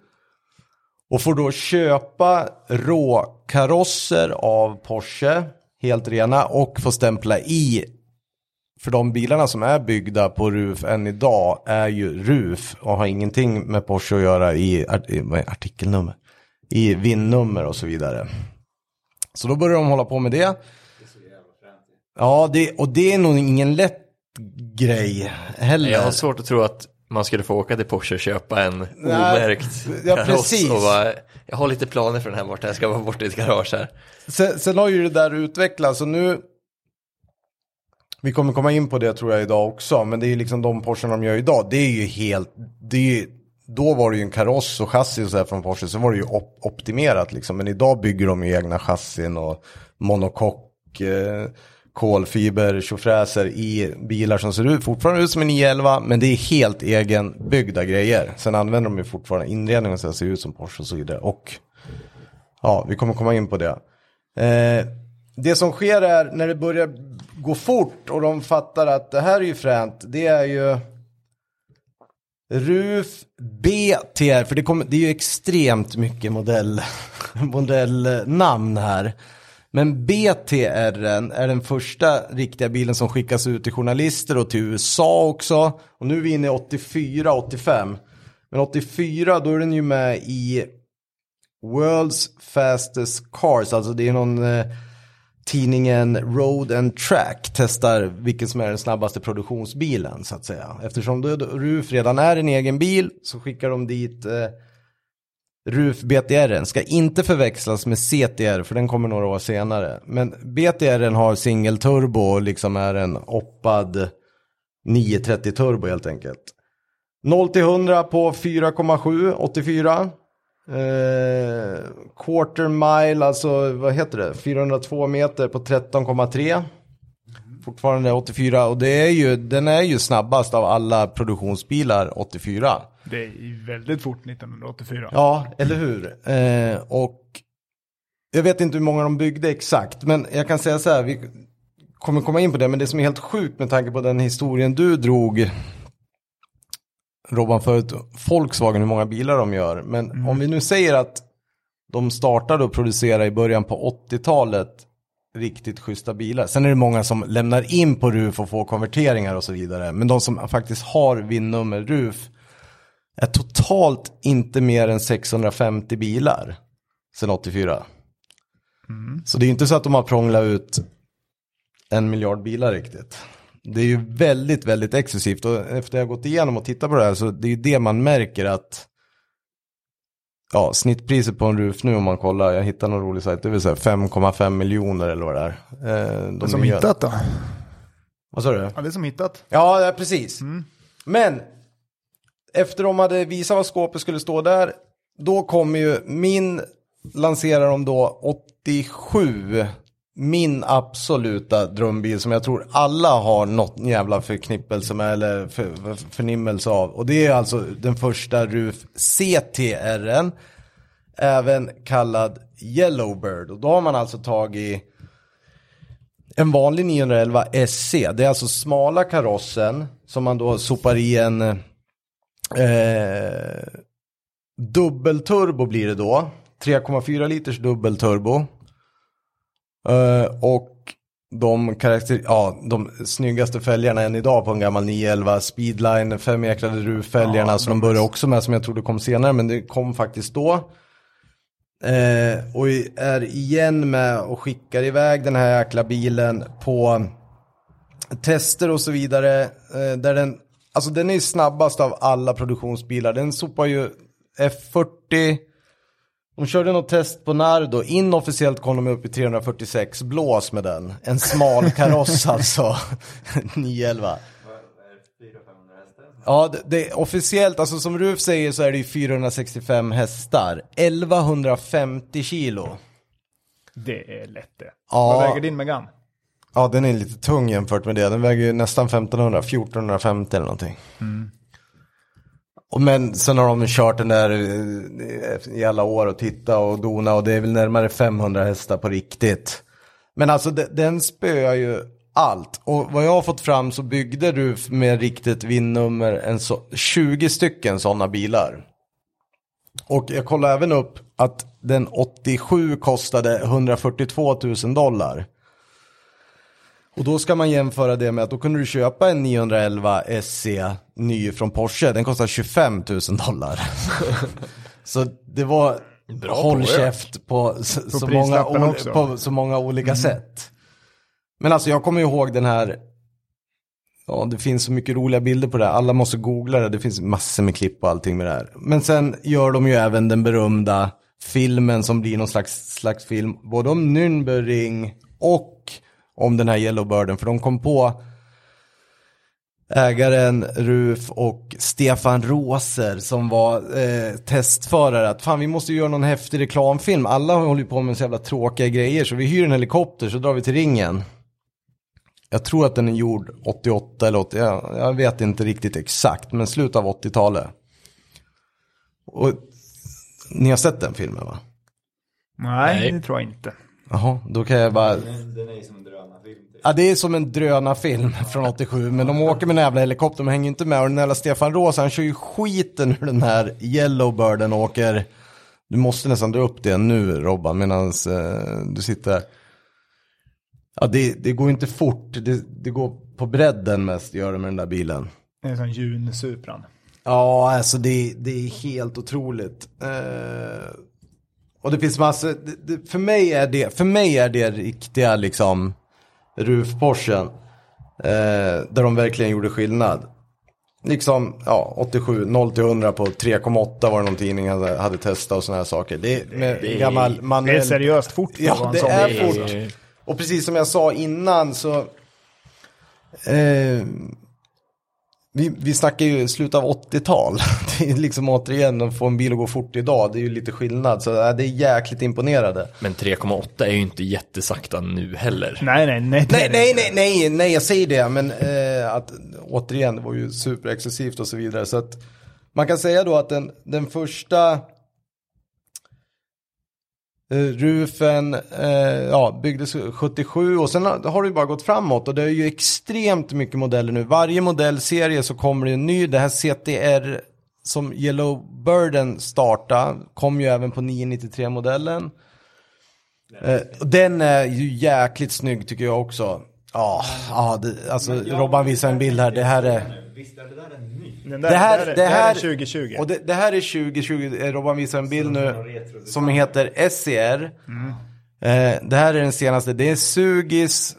S1: och får då köpa råkarosser av Porsche, helt rena, och får stämpla i. För de bilarna som är byggda på RUF än idag är ju RUF och har ingenting med Porsche att göra i, art- i vad är artikelnummer, i VIN-nummer och så vidare. Så då börjar de hålla på med det. Ja, det, och det är nog ingen lätt grej heller.
S2: Jag har svårt att tro att man skulle få åka till Porsche och köpa en omärkt
S1: ja,
S2: kaross
S1: precis.
S2: och bara, jag har lite planer för den här vart jag ska vara borta i ett garage här.
S1: Sen, sen har ju det där utvecklats och nu vi kommer komma in på det tror jag idag också, men det är ju liksom de Porsche de gör idag, det är ju helt, det är ju, då var det ju en kaross och chassi och så här från Porsche, så var det ju op- optimerat liksom, men idag bygger de ju egna chassin och monokock, eh, kolfiber, tjofräser i bilar som ser ut, fortfarande ut som en 911, men det är helt egenbyggda grejer. Sen använder de ju fortfarande inredningen så här, ser ut som Porsche och så vidare, och Ja, vi kommer komma in på det. Eh, det som sker är när det börjar gå fort och de fattar att det här är ju fränt. Det är ju RUF BTR, för det, kommer, det är ju extremt mycket modell, modellnamn här. Men BTR är den första riktiga bilen som skickas ut till journalister och till USA också. Och nu är vi inne i 84-85. Men 84 då är den ju med i World's fastest cars, alltså det är någon eh, tidningen Road and Track testar vilken som är den snabbaste produktionsbilen så att säga. Eftersom då- då RUF redan är en egen bil så skickar de dit eh, RUF BTR ska inte förväxlas med CTR för den kommer några år senare. Men BTR har singelturbo och liksom är en oppad 930 turbo helt enkelt. 0 till 100 på 4,7 84. Eh, quarter mile, alltså vad heter det? 402 meter på 13,3. Fortfarande 84 och det är ju, den är ju snabbast av alla produktionsbilar 84.
S3: Det är ju väldigt fort 1984.
S1: Ja, eller hur? Eh, och jag vet inte hur många de byggde exakt, men jag kan säga så här, vi kommer komma in på det, men det som är helt sjukt med tanke på den historien du drog, Robban, förut, Volkswagen, hur många bilar de gör. Men om vi nu säger att de startade att producera i början på 80-talet riktigt schyssta bilar. Sen är det många som lämnar in på RUF och får konverteringar och så vidare. Men de som faktiskt har VIN-nummer RUF, är totalt inte mer än 650 bilar sedan 84.
S3: Mm.
S1: Så det är ju inte så att de har prånglat ut en miljard bilar riktigt. Det är ju väldigt, väldigt exklusivt och efter jag har gått igenom och tittat på det här så det är ju det man märker att ja, snittpriset på en RUF nu om man kollar, jag hittar någon rolig sajt, det är väl så här 5,5 miljoner eller vad det är. Eh, de
S3: Som
S1: nya-
S3: hittat då?
S1: Vad sa du?
S3: Ja, det är som hittat.
S1: Ja, ja, precis. Men efter de hade visat vad skåpet skulle stå där, då kommer ju min, lanserar de då 87, min absoluta drömbil som jag tror alla har något jävla förknippelse med eller för, för, förnimmelse av. Och det är alltså den första RUF CTR'n, även kallad Yellowbird. Och då har man alltså tagit en vanlig 911 SC, det är alltså smala karossen som man då sopar i en eh, dubbelturbo blir det då. 3,4 liters dubbelturbo. Eh, och de, karaktär, ja, de snyggaste fälgarna än idag på en gammal 911 Speedline, femjäkrade ruvfälgarna som de började också med som jag trodde kom senare men det kom faktiskt då. Eh, och i- är igen med och skickar iväg den här jäkla bilen på tester och så vidare. Eh, där den, alltså den är ju snabbast av alla produktionsbilar. Den sopar ju F40, De körde något test på Nardo, inofficiellt kom de upp i 346, blås med den. En smal kaross alltså, 911. Ja, det, det är officiellt, alltså som Ruf säger så är det ju 465 hästar, 1150 kilo.
S3: Det är lätt det.
S1: Ja.
S3: Vad väger din Megane?
S1: Ja, den är lite tung jämfört med det. Den väger ju nästan 1500, 1450 eller någonting. Och men sen har de kört den där eh, i alla år och titta och dona och det är väl närmare 500 hästar på riktigt. Men alltså de- den spöar ju allt. Och vad jag har fått fram så byggde du med riktigt vinnummer en så, 20 stycken sådana bilar. Och jag kollade även upp att den 87 kostade 142 000 dollar. Och då ska man jämföra det med att då kunde du köpa en 911 SC ny från Porsche. Den kostar 25 000 dollar. så det var
S2: Bra
S1: håll
S2: påök.
S1: käft på, s- så, många,
S3: prislappen
S1: ol-
S3: också. Mm.
S1: på så många olika sätt. Men alltså jag kommer ihåg den här, ja det finns så mycket roliga bilder på det här. Alla måste googla det, det finns massor med klipp och allting med det här. Men sen gör de ju även den berömda filmen som blir någon slags, slags film, både om Nürnberg och om den här Yellowbirden, för de kom på ägaren Ruf och Stefan Roser som var eh, testförare att fan vi måste ju göra någon häftig reklamfilm. Alla håller ju på med så jävla tråkiga grejer så vi hyr en helikopter så drar vi till ringen. Jag tror att den är gjord 88 eller 80, jag, jag vet inte riktigt exakt men slut av 80-talet. Och ni har sett den filmen va?
S3: Nej,
S2: Nej.
S3: det tror jag inte.
S1: Jaha, då kan jag bara...
S4: Den är ju som en drönarfilm. typ.
S1: Ja, det är som en drönarfilm från 87, men de åker med en jävla helikopter, de hänger ju inte med. Och den jävla Stefan Roos, han kör ju skiten ur den här Yellowbirden och åker. Du måste nästan dra upp det nu, Robban, medan eh, du sitter här. Ja, det, det går inte fort, det, det går på bredden mest, gör det med den där bilen.
S3: Det är en sån Jun-Supran.
S1: Ja, alltså det, det är helt otroligt. Eh, och det finns massor, det, det, för, mig är det, för mig är det riktiga liksom RUF-Porschen. Eh, där de verkligen gjorde skillnad. Liksom, ja, 87, 0 till 100 på 3,8 var det någon tidning hade, hade testat och sådana här saker. Det är med
S2: Det är-
S1: gammal
S3: Det är
S1: manuell
S3: seriöst fort för att vara
S1: Ja,
S3: en
S1: det
S3: sån
S1: är
S3: bil.
S1: fort. Och precis som jag sa innan så... Eh, vi, vi snackar ju slut av 80-tal. Det är liksom återigen, att få en bil att gå fort idag, det är ju lite skillnad. Så eh, det är jäkligt imponerande.
S2: Men 3,8 är ju inte jättesakta nu heller.
S3: Nej, nej, nej.
S1: Nej, nej, nej, nej, nej, jag säger det, men eh, att återigen, det var ju superexcessivt och så vidare. Så att man kan säga då att den, den första eh, rufen eh, ja, byggdes 77 och sen har, har det ju bara gått framåt och det är ju extremt mycket modeller nu. Varje modellserie så kommer det en ny, det här CTR som Yellowbirden starta kom ju även på 993-modellen. Eh, och den är ju jäkligt snygg tycker jag också. Ja, ja det, alltså Robban visar en bild här. Det här är...
S4: Visst är det där en ny?
S3: Den där,
S1: Det här,
S3: där är-
S1: det
S3: där
S1: här,
S3: är 2020.
S1: Och det, det här är 2020. Eh, Robban visar en bild nu som heter SCR. Eh, det här är den senaste. Det är Sugis,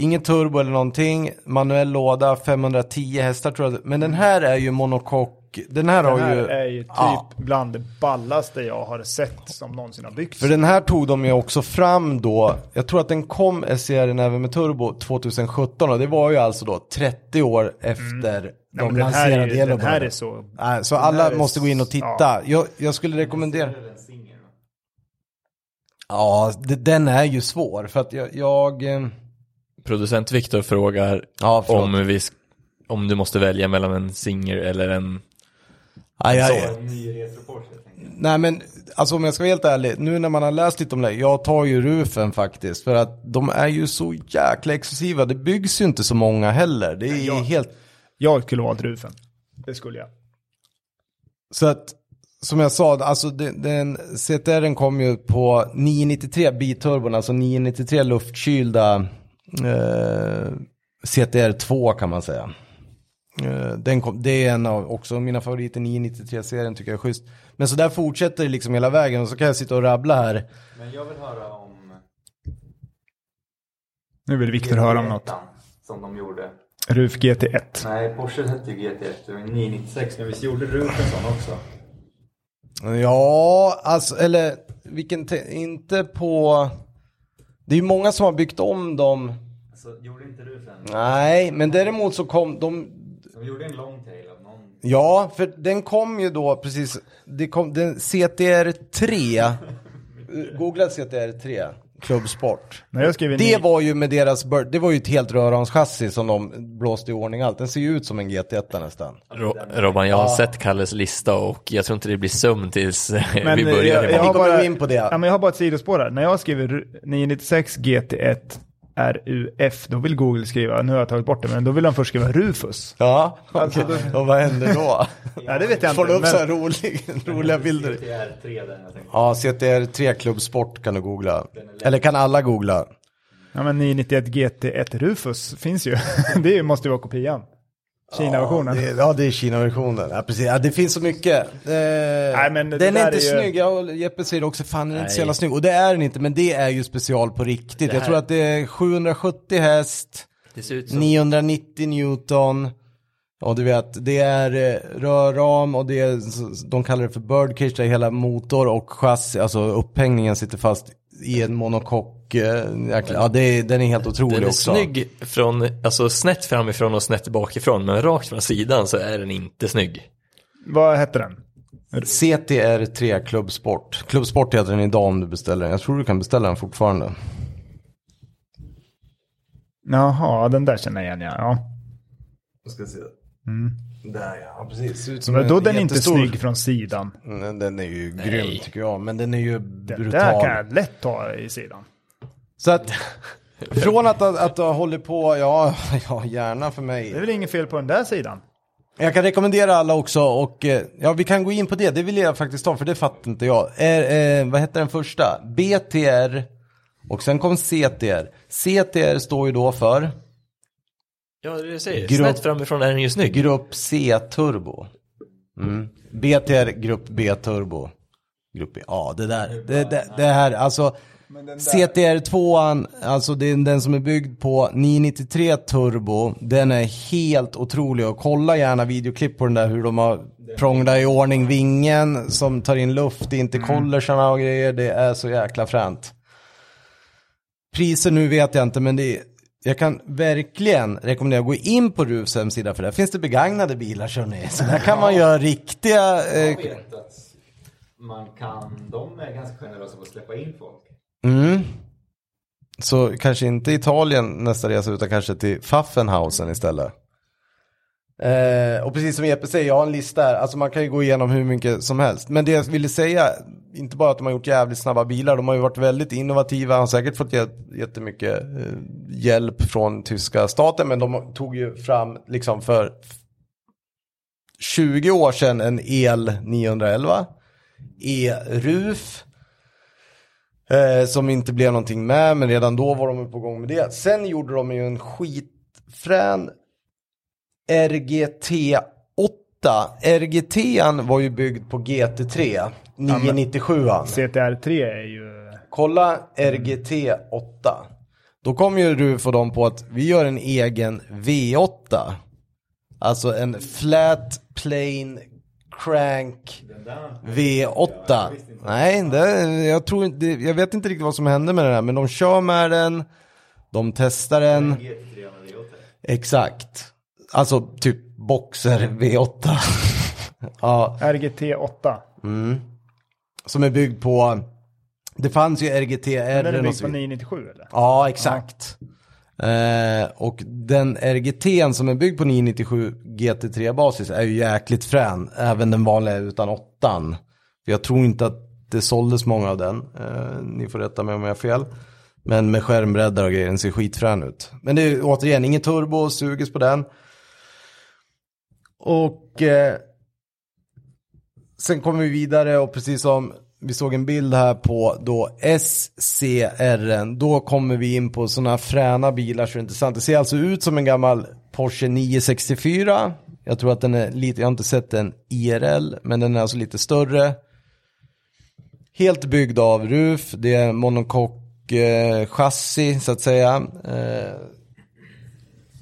S1: ingen turbo eller någonting, manuell låda, 510 hästar tror jag. Men den här är ju monokock. Den här
S3: Den
S1: har
S3: här
S1: ju...
S3: är ju typ
S1: Ja.
S3: bland det ballaste jag har sett som någonsin har byggts.
S1: För den här tog de ju också fram då, jag tror att den kom SCR även med turbo 2017 och det var ju alltså då 30 år efter
S3: Nej,
S1: de
S3: Mm. men den här är
S1: lanserade
S3: ju- Den här är
S1: Yellowbird.
S3: så...
S1: Nej, Så
S3: här
S1: alla
S3: är-
S1: måste gå in och titta.
S3: ja.
S1: Jag, jag skulle rekommendera.
S4: Det är en singel. va?
S1: Ja, d- den är ju svår för att jag... jag eh,
S2: Producent Viktor frågar
S1: ja, förlåt.
S2: om, vi, sk- om du måste välja mellan en singer eller en...
S1: Aj, aj,
S2: Så.
S1: aj.
S4: En ny retroport jag tänker.
S1: Nej men, alltså om jag ska vara helt ärlig, nu när man har läst lite om det, jag tar ju rufen faktiskt. För att de är ju så jäkla exklusiva, det byggs ju inte så många heller. Det är
S3: jag-
S1: helt
S3: Jag skulle valt Rufen. Det skulle jag.
S1: Så att, som jag sa, alltså den, den CTR kom ju på 993 biturbon, alltså 993 luftkylda eh, CTR2 kan man säga. Eh, Den kom, det är en av också mina favoriter, 993-serien tycker jag är schysst. Men så där fortsätter det liksom hela vägen och så kan jag sitta och rabbla här.
S4: Men jag vill höra om...
S3: Nu vill Viktor höra om något.
S4: GT1, Som de gjorde.
S3: Ruf GT1.
S4: Nej, Porsche hette ju GT1. Det var 996. Men visst gjorde Ruth en sån också?
S1: Ja, alltså, eller vilken, te- inte på... Det är ju många som har byggt om dem.
S4: Alltså, gjorde inte du sen?
S1: Nej, men däremot så kom de...
S4: De gjorde en long tail av någon.
S1: Ja, för den kom ju då precis... Det kom den CTR3. Eh, Googla CTR3, klubbsport.
S3: När jag skriver
S1: Det
S3: ny-
S1: var ju med deras... bör- Det var ju ett helt rörhanschassi som de blåste i ordning allt. Den ser ju ut som en GT1 nästan.
S2: Ro Robban, jag har sett Kalles lista och jag tror inte det blir sömn tills vi börjar
S3: jag, eh, jag,
S2: imorgon.
S3: har
S1: Vi kommer
S3: bara,
S1: gå in på det.
S3: Ja, men jag har bara ett sidospår här. När jag skriver ru- 996 GT1 RUF, då vill Google skriva, nu har jag tagit bort det, men då vill de först skriva Rufus.
S1: Ja, okej. Alltså, och vad händer då?
S3: Ja, det vet Alltså, jag
S1: Får du
S3: inte.
S1: upp så här
S3: Men,
S1: rolig, roliga bilder?
S4: CTR3 där jag tänkte.
S1: Ja, CTR3 klubbsport kan du googla. Eller kan alla googla.
S3: ja, men 991 GT1 Rufus finns ju. det måste ju vara kopian. Kina-versionen.
S1: Det, ja, det är Kina-versionen. Ja, precis. Ja, det finns så mycket. Eh,
S3: men
S1: den
S3: det där
S1: är
S3: är
S1: inte
S3: ju-
S1: snygg. Ja, och Jeppe säger också, fan den är inte så
S2: Nej.
S1: jävla snygg. Och det är den inte, men det är ju special på riktigt. Jag tror att det är 770 häst,
S2: Det ser ut som...
S1: 990 newton. Och du vet, det är eh, rörram och det är, s- de kallar det för birdcage, där hela motor och chassi, alltså upphängningen sitter fast i en monokock. eh, jäkla- Ja, det är, den är helt otrolig
S2: Den är
S1: också.
S2: snygg från, alltså snett framifrån och snett bakifrån, men rakt från sidan så är den inte snygg.
S3: Vad hette den?
S1: CTR3 Klubbsport. Klubbsport heter den idag om du beställer den. Jag tror du kan beställa den fortfarande.
S3: Jaha, den där känner jag igen ja. ja.
S1: Jag ska se. Där ja, precis. Ser ut som
S3: Mm. Men
S1: en
S3: då den är inte
S1: jättestor-
S3: snygg från sidan.
S1: Mm, Den är ju grym tycker jag, men den är ju
S3: Den där
S1: brutal.
S3: kan jag lätt ta i sidan.
S1: Så att, från att, att, att ha hållit på, ja, ja gärna för
S3: Det är
S1: mig.
S3: väl inget fel på den där sidan?
S1: Jag kan rekommendera alla också och eh, ja, vi kan gå in på det. Det vill jag faktiskt ta för det fattar inte jag. Eh, eh, vad hette den första? BTR och sen kom CTR. CTR står ju då för?
S2: Ja, det är det jag säger.
S1: Grupp-
S2: Snett framifrån är den ju snygg.
S1: Grupp C turbo. Mm. BTR grupp B turbo. Grupp B. Ja, det där. Det, det, det här, alltså. CTR2, alltså det är den som är byggd på 993 turbo. Den är helt otrolig och kolla gärna videoklipp på den där hur de har prånglat i ordning vingen som tar in luft, det är inte collersarna och grejer. Det är så jäkla fränt. Priser nu vet jag inte, men det är, jag kan verkligen rekommendera att gå in på Rufs hemsida för där finns det begagnade bilar kör ni. Så där kan man göra riktiga... Eh,
S4: Jag vet att man kan, de är ganska generösa på att släppa in folk.
S1: mm. Så kanske inte Italien nästa resa utan kanske till Pfaffenhausen istället. Eh, och precis som Jeppe säger, jag har en lista här. Alltså man kan ju gå igenom hur mycket som helst. Men det jag ville säga, inte bara att de har gjort jävligt snabba bilar, de har ju varit väldigt innovativa, har säkert fått jät- jättemycket eh, hjälp från tyska staten, men de tog ju fram liksom för f- 20 år sedan en el 911, e-RUF, eh, som inte blev någonting med, men redan då var de på gång med det. Sen gjorde de ju en skitfrän RGT 8. RGT var ju byggd på GT3, 997
S3: CTR3 är ju...
S1: Kolla RGT 8. Då kom ju du få dem på att vi gör en egen V8. Alltså en flat plain crank V8. Nej, det, jag, tror inte, jag vet inte riktigt vad som hände med den här, men de kör med den, de testar den.
S4: GT3 med V8.
S1: Exakt. Alltså typ Boxer V8. ja,
S3: RGT8.
S1: som är byggd på... Det fanns ju RGTR.
S3: Den är
S1: och
S3: byggd
S1: så
S3: på
S1: vidare.
S3: 997 eller?
S1: Ja, exakt. Eh, och den RGT som är byggd på 997 GT3-basis är ju jäkligt frän. Även den vanliga utan åttan. För jag tror inte att det såldes många av den. Eh, ni får rätta mig om jag har fel. Men med skärmbreddar och grejer, den ser skitfrän ut. Men det är ju återigen inget turbo, suges på den. Och eh, sen kommer vi vidare och precis som vi såg en bild här på då SCR, då kommer vi in på sådana fräna bilar så det är intressant. Det ser alltså ut som en gammal Porsche 964. Jag tror att den är lite, jag har inte sett den IRL, men den är alltså lite större. Helt byggd av RUF, det är monokock eh, chassi så att säga. Eh,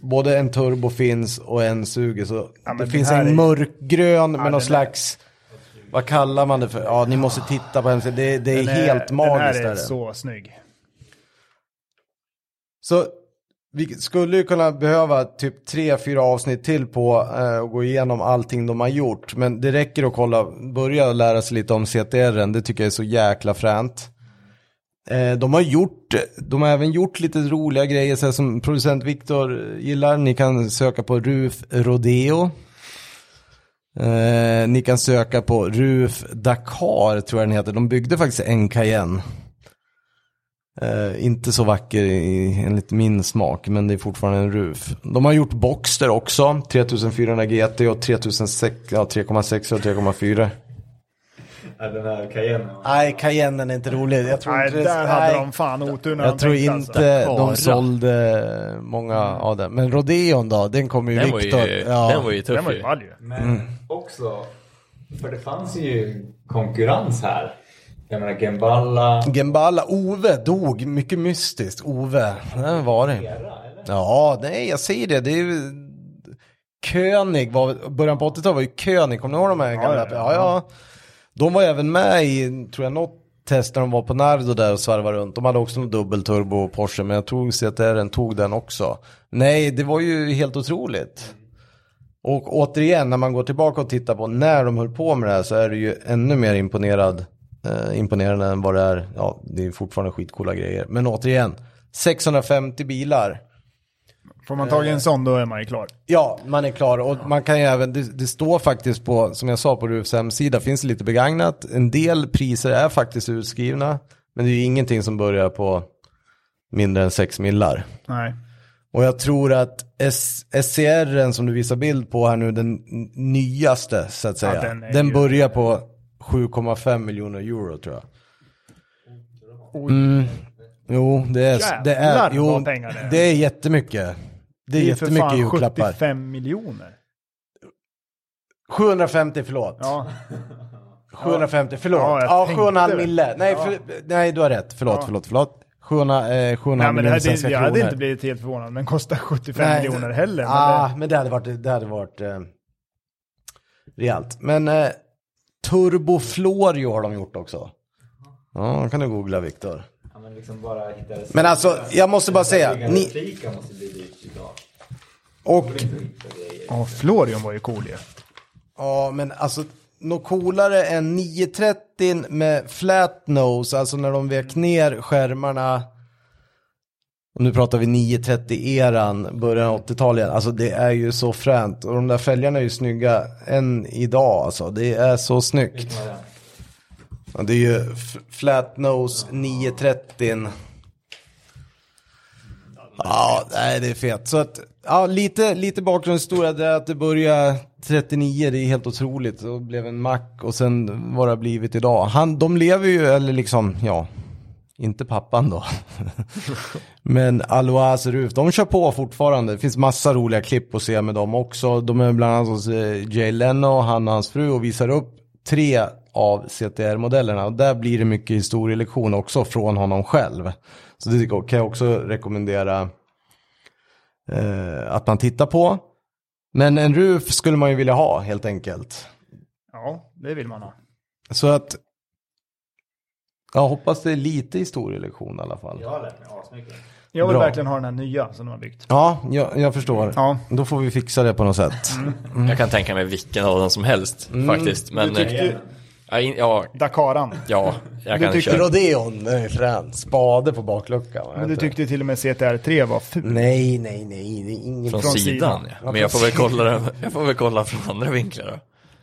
S1: både en turbo finns och en suger så
S3: men
S1: det
S3: den
S1: finns
S3: här
S1: en
S3: är-
S1: mörkgrön med
S3: den
S1: någon
S3: är-
S1: slags Vad kallar man det för? Ja, ni måste titta på hemsidan. Det, det är
S3: Den
S1: helt magiskt.
S3: Den
S1: är
S3: här är
S1: det.
S3: så snygg.
S1: Så vi skulle ju kunna behöva typ tre, fyra avsnitt till på eh, och gå igenom allting de har gjort. Men det räcker att kolla, börja lära sig lite om CTR, det tycker jag är så jäkla fränt. Eh, de, har gjort, de har även gjort lite roliga grejer så här, som producent Viktor gillar. Ni kan söka på RUF Rodeo. Eh, ni kan söka på RUF Dakar tror jag den heter. De byggde faktiskt en Cayenne. Eh, inte så vacker i, enligt min smak, men det är fortfarande en RUF. De har gjort Boxster också, 3400 GT och 3600, ja, 3,6 och 3,4.
S4: Ja, Äh, den här Cayenne.
S1: Nej, Cayennen är inte rolig. Jag tror
S3: Nej,
S1: inte,
S3: där hade
S1: nej,
S3: de fan otur när de
S1: Jag tror
S3: tänkte,
S1: inte
S3: alltså.
S2: Bara.
S1: de sålde många av dem. Men Rodeon då, den kommer ju
S2: Den var ju,
S1: Viktor.
S2: den var ju
S3: Den
S2: tuff
S3: var ju
S2: ju.
S3: ball ju.
S4: Men också, för det fanns ju konkurrens här. Jag menar Gemballa,
S1: Gemballa, Ove dog, mycket mystiskt. Ove, den var det.
S4: Era, eller?
S1: Ja, nej jag säger det. det är ju... König var, början på 80-talet var ju König, kommer ni ihåg de här gamla? Ja,
S3: ja,
S1: ja. De var även med i, tror jag, något test när de var på Nardo där och svarvade runt. De hade också någon dubbelturbo Porsche, men jag tror CTR tog den också. Nej, det var ju helt otroligt. Och återigen, när man går tillbaka och tittar på när de höll på med det här så är det ju ännu mer imponerad, eh, imponerande än vad det är. Ja, det är fortfarande skitcoola grejer. Men återigen, 650 bilar.
S3: Får man
S1: Eh.
S3: tag i en sån då är man ju klar.
S1: Ja, man är klar och man kan ju även, det, det står faktiskt på, som jag sa på RUFs hemsida, finns det lite begagnat. En del priser är faktiskt utskrivna, men det är ju ingenting som börjar på mindre än 6 millar.
S3: Nej.
S1: Och jag tror att S- SCR som du visar bild på här nu, den n- nyaste så att säga,
S3: den
S1: den,
S3: är ju-
S1: börjar på 7,5 miljoner euro tror jag. Mm. Jo, det är, det är,
S3: Jävlar
S1: jo,
S3: vad pengar det är.
S1: det är jättemycket. Det är
S3: Det är ju för
S1: jättemycket
S3: fan
S1: julklappar.
S3: 75 miljoner.
S1: 750, förlåt.
S3: Ja,
S1: 750, förlåt. Ja,
S3: Ja, jag tänkte
S1: 7,5
S3: det.
S1: mille. Nej, för, nej, du har rätt. Förlåt,
S3: Ja.
S1: förlåt, förlåt. 700, eh, 700
S3: nej, men det
S1: miljoner
S3: här,
S1: svenska
S3: det, jag
S1: kronor.
S3: hade inte blivit helt förvånad om den kostar 75
S1: Nej,
S3: miljoner
S1: det-
S3: heller. Men
S1: ah, men det hade varit, det hade varit eh, rejält. Men eh, Turbo Florio har de gjort också. Ja, kan du googla Viktor.
S4: Ja, men liksom bara hittade
S1: Men alltså, jag måste bara säga, ni-
S4: Replika måste bli dyrt idag.
S1: Och,
S3: det, ja, Florion var ju cool ju.
S1: ja men alltså, något coolare än 930 med flat nose, alltså när de vek ner skärmarna. Och nu pratar vi 930-eran, början av 80-talet. Alltså det är ju så fränt. Och de där fälgarna är ju snygga än idag alltså. Det är så snyggt.
S4: Vilken var den?
S1: Ja, det är ju f- Flat Nose 930. Ja, nej det är fet. Så att, ja, lite, lite bakgrundshistoria, det är att det började 39, det är helt otroligt. Och blev en mack och sen vad det har blivit idag. Han, de lever ju, eller liksom, ja, inte pappan då. Men Alois Ruf, de kör på fortfarande. Det finns massa roliga klipp att se med dem också. De är bland annat hos eh, Jay Leno, han och hans fru och visar upp tre av CTR-modellerna. Och där blir det mycket historielektion också från honom själv. Så det kan jag också rekommendera eh, att man tittar på. Men en Ruf skulle man ju vilja ha helt enkelt.
S3: Ja, det vill man ha.
S1: Så att jag hoppas det är lite historielektion i alla fall.
S4: Jag har lärt mig asmycket.
S3: Jag vill
S1: Bra.
S3: verkligen ha den här nya som de har byggt.
S1: Ja, jag, jag förstår.
S3: Ja. Mm.
S1: Då får vi fixa det på något sätt.
S2: Jag kan tänka mig vilken av dem som helst
S1: Mm.
S2: faktiskt. Men, eh, ja, in- ja,
S3: Dakaran.
S2: ja, jag kan
S1: Du tycker
S2: köra.
S1: Rodeon är frän. Spade på bakluckan. va?
S3: Men du tyckte till och med CTR3 var ful.
S1: Nej, nej, nej. Det är ingen...
S2: Från,
S3: från
S2: sidan,
S3: sidan.
S2: ja. Men jag får, väl kolla, den- jag får väl kolla från andra vinklar då.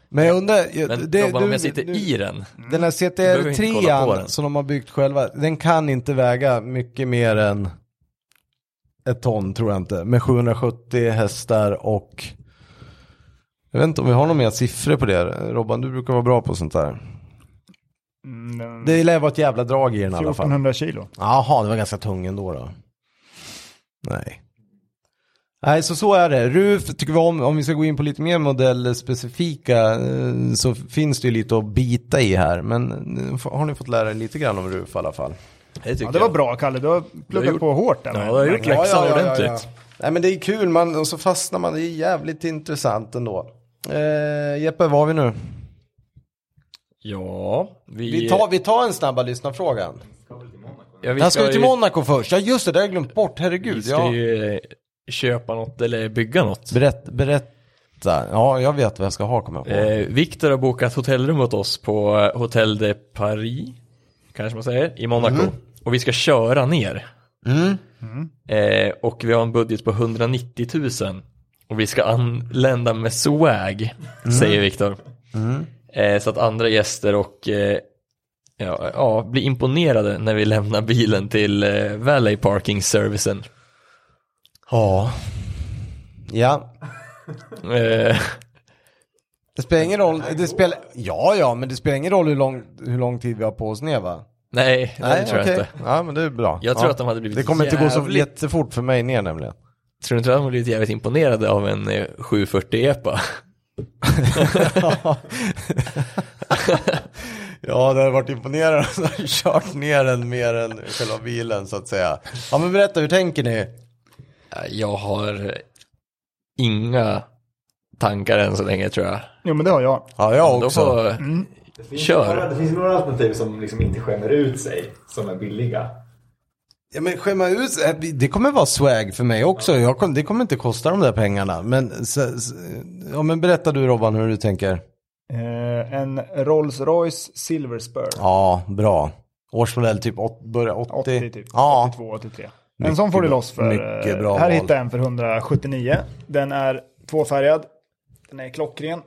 S1: Men jag undrar. jag-
S2: Men
S1: det-
S2: frågan
S1: du-
S2: om jag sitter
S1: du-
S2: i den.
S1: Den här
S2: behöver inte kolla på
S1: CTR3
S2: den.
S1: som de har byggt själva. Den kan inte väga mycket mer än ett ton tror jag inte. Med 770 hästar och jag vet inte om vi har några mer siffror på det. Robban, du brukar vara bra på sånt där.
S3: Mm,
S1: Det lär vara ett jävla drag i den i alla fall.
S3: 1400 kilo.
S1: Jaha, det var ganska tung ändå då. Nej. Nej, så så är det. RUF tycker vi om, om vi ska gå in på lite mer modellspecifika eh, så finns det ju lite att bita i här. Men eh, f- har ni fått lära er lite grann om RUF i alla fall?
S2: Det tycker
S3: Ja, det var bra Kalle, du har pluggat
S2: gjort-
S3: på hårt där.
S2: Ja,
S3: med.
S2: du har gjort
S3: Men-
S2: läxan ordentligt.
S1: Nej men det är kul, man, och så fastnar man, det är jävligt intressant ändå. Eh, Jeppe, var har vi nu?
S2: Ja, vi...
S1: Vi tar, vi tar en snabba lyssnarfråga.
S2: ja, vi
S1: Han ska ju till
S2: ju-
S1: Monaco först. Ja just det, det har jag glömt bort.
S2: Vi
S1: Herregud.
S2: ska
S1: Ja.
S2: ju eh, köpa något eller bygga något.
S1: Berätt, berätta. Ja, jag vet vad jag ska ha kommer jag ihåg.
S2: Eh, Viktor har bokat hotellrum åt oss på eh, Hotel de Paris, kanske man säger, i Monaco. Och vi ska köra ner.
S1: Mm.
S2: Eh, och vi har en budget på 190 000. Och vi ska anlända med swag, säger Viktor. Eh, så att andra gäster och eh, ja, ja, blir imponerade när vi lämnar bilen till eh, Valley Parking Servicen.
S1: Ja. Ja.
S2: Eh,
S1: Det spelar ingen roll. Det spelar... Ja, ja, men det spelar ingen roll hur lång, hur lång tid vi har på oss ner va?
S2: nej, nej, det tror jag
S1: okej.
S2: inte.
S1: Ja, men det är bra.
S2: Jag tror
S1: ja.
S2: att de hade blivit
S1: Det kommer inte gå så
S2: jävligt-
S1: jättefort för mig ner nämligen.
S2: Tror du inte att de blivit jävligt imponerade av en eh, 740 EPA?
S1: Ja, det hade varit imponerande om de hade kört ner den mer än själva bilen så att säga. Ja, men berätta, hur tänker ni?
S2: Jag har eh, inga tankar än så länge tror jag.
S3: Jo, men det har jag.
S1: Ja, jag
S2: Då
S1: också. Mm.
S2: får,
S4: Det finns,
S2: Kör.
S4: Några, det finns några alternativ som liksom inte skämmer ut sig, som är billiga.
S1: Ja, men skämma ut sig. Eh, vi- det kommer vara swag för mig också. Jag kom, det kommer inte kosta de där pengarna. Men, så, så, ja, men berätta du Robban hur du tänker.
S3: Eh, en Rolls Royce Silver Spur.
S1: Ja, bra. Årsmodell typ åt, börja 80.
S3: 80 typ.
S1: Ja.
S3: 82, 83. En
S1: Mycket
S3: sån får du
S1: bra-
S3: loss för.
S1: mycket
S3: eh,
S1: bra
S3: här
S1: val.
S3: hittar jag en för 179. Den är tvåfärgad. Den är klockren.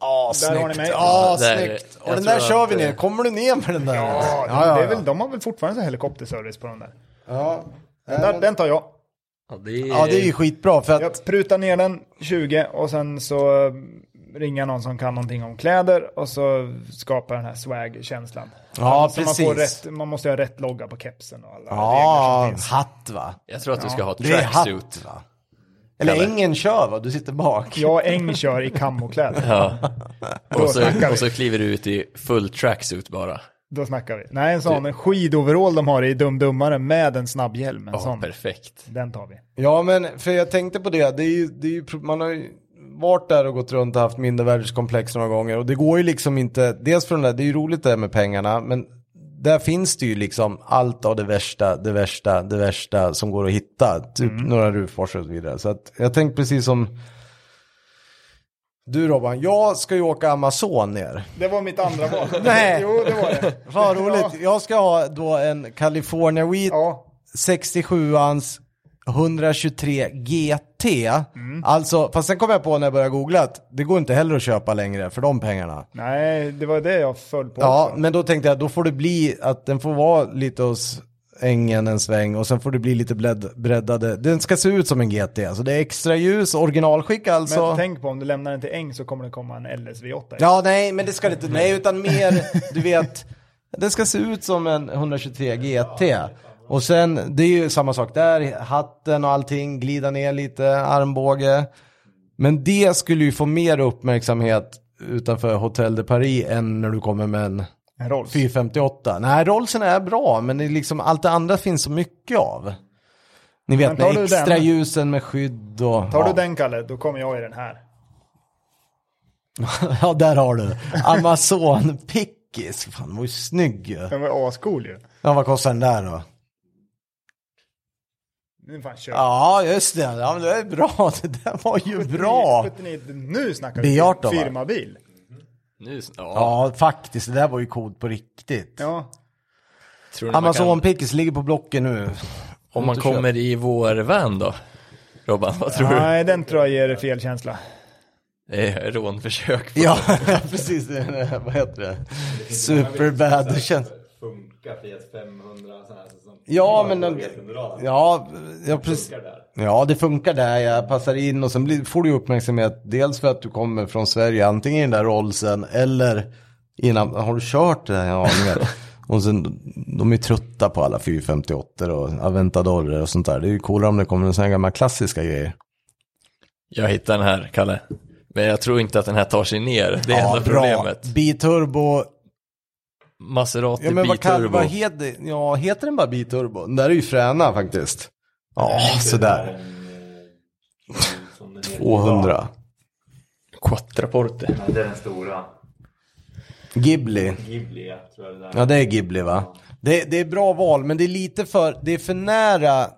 S1: Ja,
S3: Där har ni
S1: snyggt.
S3: mig.
S1: Ja,
S2: Där-
S1: snyggt. Och
S2: jag
S1: den där
S2: tror
S1: kör
S2: att,
S1: vi ner.
S2: eh,
S1: Kommer du ner med den där?
S3: Ja, det är väl, de har väl fortfarande så här helikopterservice på den där.
S1: Ja.
S3: Den, där, den tar jag.
S2: ja, det är,
S1: Ja, det är ju skitbra för att
S3: Jag prutar ner den 20 och sen så eh, ringer någon som kan någonting om kläder och så skapar den här swag-känslan.
S1: Ja,
S3: så man, får
S1: precis.
S3: rätt, man måste ha rätt logga på kepsen och alla regler som
S1: Ja,
S3: finns.
S1: hatt va?
S2: jag tror att du ska ha
S1: Det är
S2: tracksuit.
S1: hatt va? Eller
S2: Eller?
S1: ängen kör va? Du sitter bak.
S3: Jag och Eng kör i kammokläder.
S2: Ja. Och,
S3: snackar
S2: så,
S3: vi.
S2: och så kliver du ut i full tracksuit bara.
S3: Då snackar vi. Nej, en sån en skidoverall de har i Dum Dummare med en snabbhjälm. En
S2: Ja,
S3: sån.
S2: perfekt.
S3: Den tar vi.
S1: Ja, men för jag tänkte på det. det, är ju, det är ju, pro- man har ju varit där och gått runt och haft mindervärdeskomplex några gånger. Och det går ju liksom inte, dels för den där, det är ju roligt det där med pengarna, men där finns det ju liksom allt av det värsta, det värsta, det värsta som går att hitta. Typ några Rufors och så vidare. Så att jag tänkte precis som du Robban, jag ska ju åka Amazon ner.
S3: Det var mitt andra val.
S1: Nej.
S3: Jo, det var det.
S1: Vad roligt, jag ska ha då en California Wheat
S3: Ja,
S1: 67ans 123 GT. Alltså, fast sen kom jag på när jag började googla att det går inte heller att köpa längre för de pengarna.
S3: nej, det var det jag föll på.
S1: Ja,
S3: också.
S1: men då tänkte jag då får det bli att den får vara lite hos ängen en sväng och sen får det bli lite bled, breddade. Den ska se ut som en GT, alltså det är extra ljus, originalskick
S3: Men
S1: alltså.
S3: tänk på om du lämnar den till Eng så kommer det komma en LSV8.
S1: Ja, nej, men det ska det inte, nej, utan mer, du vet, den ska se ut som en 123 GT. Och sen, det är ju samma sak där, hatten och allting, glida ner lite, armbåge. Men det skulle ju få mer uppmärksamhet utanför Hotel de Paris än när du kommer med en
S3: En Rolls.
S1: 458. Nej, Rollsen är bra, men det är liksom, allt det andra finns så mycket av. Ni vet,
S3: Men tar
S1: med
S3: du den-
S1: extra ljusen med skydd och...
S3: Tar
S1: ja.
S3: du den Kalle, då kommer jag i den här.
S1: Ja, där har du. Amazon Pickis. Fan, den var ju snygg ju.
S3: Den var ascool ju.
S1: Ja, vad kostar den där då?
S3: Nu fan kör.
S1: Ja, just det. Ja, men det är bra. Det där var ju bra.
S3: 79, nu snackar
S1: B18, va?
S3: vi firmabil.
S2: Nu, s- ja,
S1: Ja, faktiskt. Det där var ju coolt på riktigt.
S3: Ja,
S2: tror ni man
S1: Amazon
S2: kan,
S1: Pickis ligger på Blocken nu.
S2: om man kommer i vår van då? Robban, vad tror du?
S3: nej den tror jag ger fel känsla.
S2: Det är rånförsök.
S1: Ja, precis. Det är- Vad heter det? Superbad. Det känns...
S4: Funka Fiat 500 sådana här som...
S1: Ja, men...
S4: Jag vet inte vad det är.
S1: Ja, ja, precis.
S4: Funkar där.
S1: Ja, det funkar där. Jag passar in och sen blir, får du ju uppmärksamhet. Dels för att du kommer från Sverige, antingen i den där rollsen eller innan. Har du kört det? här? Ja, ni vet. Och sen, de är ju trötta på alla 458 och Aventadorer och sånt där. Det är ju coolare om det kommer en sån här gamla klassiska grejer.
S2: Jag hittar den här, Kalle. Men jag tror inte att den här tar sig ner. Det är enda problemet.
S1: Biturbo.
S2: Maserati
S1: Ja, men vad, kan,
S2: biturbo.
S1: vad heter, ja, heter den bara biturbo? Den där är ju fräna faktiskt. Ja, sådär.
S4: Det är en, eh, som den heter idag.
S1: 200.
S2: Quattraporte.
S4: Ja, det är den stora.
S1: Ghibli.
S4: Ghibli, ja, tror jag det där.
S1: Ja, det är Ghibli va? Det, det är bra val, men det är lite för, det är för nära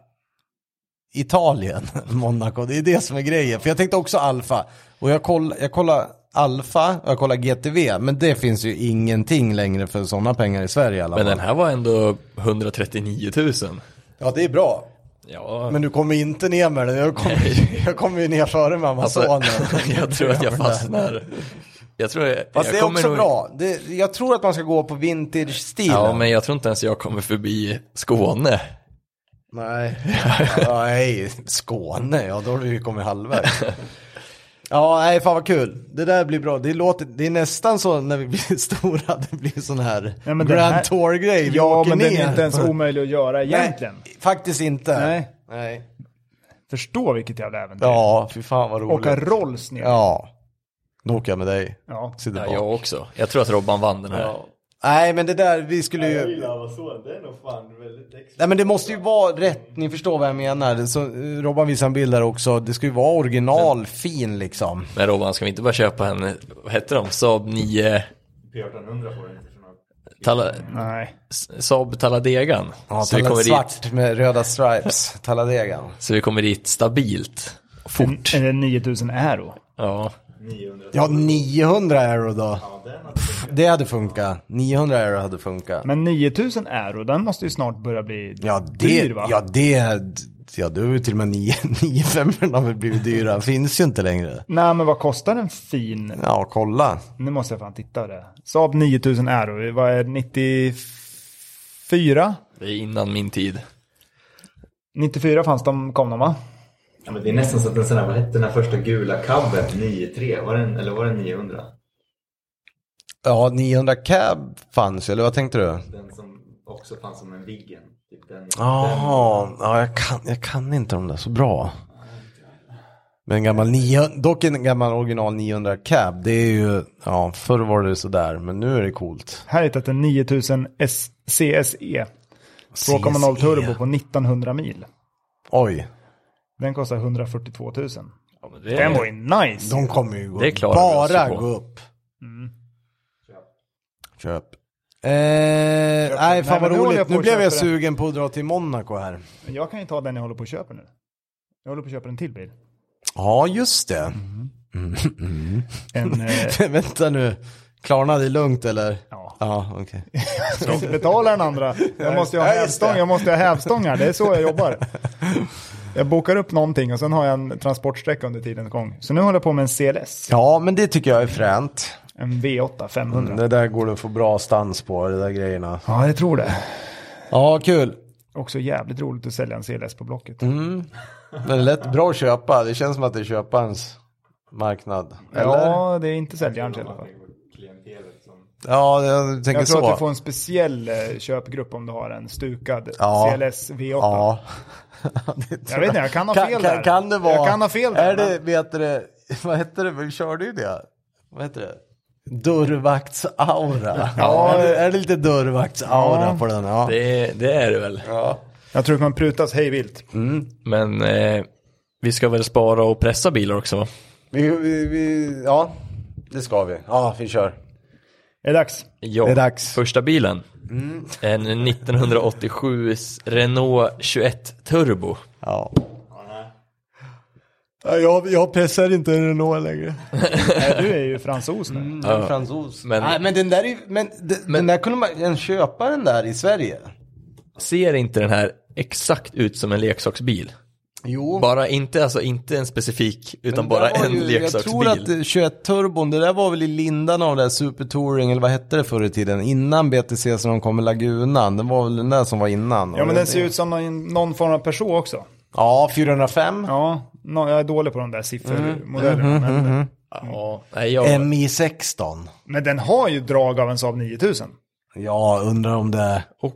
S1: Italien, Monaco. Det är det som är grejen. För jag tänkte också Alfa. Och jag, koll, jag kollar Alfa och jag kollar GTV, men det finns ju ingenting längre för sådana pengar i Sverige i alla
S2: Men
S1: fall.
S2: den här var ändå 139 000.
S1: Ja, det är bra.
S2: Ja,
S1: Men du kommer inte ner med den. Jag kommer, jag kommer ju ner före med
S2: Alltså-
S1: Amazonen.
S2: jag tror att jag fastnar. Jag tror jag,
S1: Fast
S2: jag
S1: det är
S2: kommer
S1: också
S2: nog-
S1: bra. Det, jag tror att man ska gå på vintage-stilen.
S2: Ja, men jag tror inte ens jag kommer förbi Skåne.
S1: Nej. ja, nej, Skåne, ja då har du ju kommit halvvägs. Ja, nej, fan vad kul. Det där blir bra. Det, låter, det är nästan så när vi blir stora, det blir sån här
S3: Ja, men
S1: Grand
S3: det här-
S1: Tour-grej. Vi
S3: Ja,
S1: åker
S3: men
S1: ner.
S3: den är inte ens omöjlig att göra egentligen.
S1: Nej, faktiskt inte.
S3: Nej.
S1: nej.
S3: Förstå vilket jävla äventyr.
S1: Ja, fy fan vad roligt.
S3: Åka Rolls ner.
S1: Ja, då åker jag med dig.
S3: Ja.
S1: Sitter
S2: Ja,
S1: bak.
S2: jag också. Jag tror att Robban vann den här.
S1: Nej, men det där, vi skulle ju...
S4: Jag gillar Amazonen, det är nog fan väldigt extra.
S1: Nej men det måste ju vara rätt, ni förstår vad jag menar. Så, eh, Robban visar en bild där också, det ska ju vara original, fin liksom.
S2: Men Robban, ska vi inte bara köpa en, vad heter de, Saab 9,
S4: P1800 får den inte för något.
S2: Tala,
S3: Nej.
S2: Saab Taladegan?
S1: Ja,
S2: så, vi kommer dit,
S1: svart med röda stripes, Talladegan.
S2: så vi kommer dit stabilt, fort.
S3: Eller 9000 euro.
S2: Ja,
S4: 900.
S1: Ja, 900 euro då.
S4: Ja, den hade funkat.
S1: Det hade funkat. 900 euro hade funkat.
S3: Men 9000 euro, den måste ju snart börja bli
S1: Ja, det,
S3: dyr va?
S1: ja, det, ja, då är det till och med 9 900 har väl blivit dyra. Finns ju inte längre.
S3: Nej men vad kostar en fin?
S1: Ja, kolla.
S3: Nu måste jag fan titta på det. Saab 9000 euro, vad är det, 94?
S2: det är innan min tid.
S3: 94 fanns de, kom de va?
S4: Ja, men det är nästan så att den sån här, vad hette den här första gula cabben, 93, var den, eller var den 900?
S1: Ja, 900 cab fanns ju, eller vad tänkte du?
S4: Den som också fanns som en Viggen. Typ den,
S1: Jaha, ja, jag, kan, jag kan inte de där så bra. Men en gammal 900, dock en gammal original 900 cab, det är ju, ja förr var det sådär, men nu är det coolt.
S3: Här hittat en 9000 S- E. CSE. 2,0
S2: E.
S3: turbo på 1900 mil.
S1: Oj,
S3: Den kostar 142 000.
S2: Ja, men
S3: Den var
S2: det,
S3: ju nice.
S1: de kommer ju gå
S2: Det klarar vi oss
S1: bara
S2: ju på.
S1: gå upp.
S4: den,
S1: Köp. Eh, nej, fan
S3: men
S1: vad
S3: nu håller
S1: roligt.
S3: jag på
S1: Nu
S3: att
S1: blev jag
S3: köpa det.
S1: sugen på att dra till Monaco här.
S3: Men Jag kan ju ta den jag håller på att köpa nu. Jag håller på att köpa en till bil.
S1: Ja, just det.
S3: En, eh,
S1: Vänta nu, klarnade det lugnt eller?
S3: ja,
S1: Ja, okej.
S3: jag kan inte betala den andra. Jag måste ju ha
S1: Ja, just det.
S3: hävstång, jag måste ha hävstångar. Det är så jag jobbar. Jag bokar upp någonting och sen har jag en transportsträcka under tidens gång. Så nu håller jag på med en CLS.
S1: Ja, men det tycker jag är fränt.
S3: En V8 500.
S1: Mm, Det där går det att få bra stans på, de där grejerna.
S3: Ja, jag tror det.
S1: Ja, kul.
S3: Också jävligt roligt att sälja en CLS på Blocket.
S1: Mm, Men det lät bra att köpa. Det känns som att det är köparens marknad. Eller? Ja,
S3: Ja, det är inte säljarens i alla fall.
S4: klientelet som...
S1: ja jag tänker
S3: Jag tror
S1: så.
S3: att du får en speciell eh, köpgrupp om du har en stukad
S1: Ja.
S3: CLS V8.
S1: Ja. Det
S3: Jag
S1: tror
S3: vet inte, jag kan ha
S1: Kan,
S3: fel
S1: kan,
S3: där.
S1: kan det vara...
S3: Jag kan ha fel där.
S1: Är det, vet du, det- vad hette det, vi körde ju det. Vad hette det? Dörrvaktsaura. Ja. Är, det, är det lite dörrvaktsaura
S3: Ja.
S1: på den? Ja.
S2: det, det är det väl.
S3: Jag tror att man prutas hej vilt.
S1: Mm.
S2: Men eh, vi ska väl spara och pressa bilar också va?
S1: Vi, vi, vi, ja, det ska vi. Ja, vi kör.
S3: Är det dags?
S2: Ja,
S1: Det är dags. Mm.
S2: första bilen. En 1987 Renault 21 Turbo.
S1: Ja. Jag, jag pressar inte Renault längre. Mm.
S3: Nej, du är ju fransos nu.
S1: En fransos.
S2: Men-
S1: Nej, men den där, är, ju- men, de, den där kunde man en köpa den där i Sverige.
S2: Ser inte den här exakt ut som en leksaksbil?
S1: Jo.
S2: Bara inte, alltså inte en specifik, utan
S1: Men
S2: bara
S1: det där var
S2: en
S1: ju-
S2: leksaksbil.
S1: Jag tror att 21 turbon, det där var väl i lindan av det där Super Touring, eller vad hette det förr i tiden? Innan BTC som de kom med Lagunan. Den var väl den där som var innan?
S3: Ja, men den ser ut som någon, någon form av person också.
S1: Ja, 405.
S3: Ja, nå- jag är dålig på de där
S1: Mm-hmm,
S3: siffermodellerna. men,
S2: Ja, nej, jag,
S1: MI16.
S3: men den har ju drag av en Saab 9000.
S1: Ja, undrar om det...
S2: och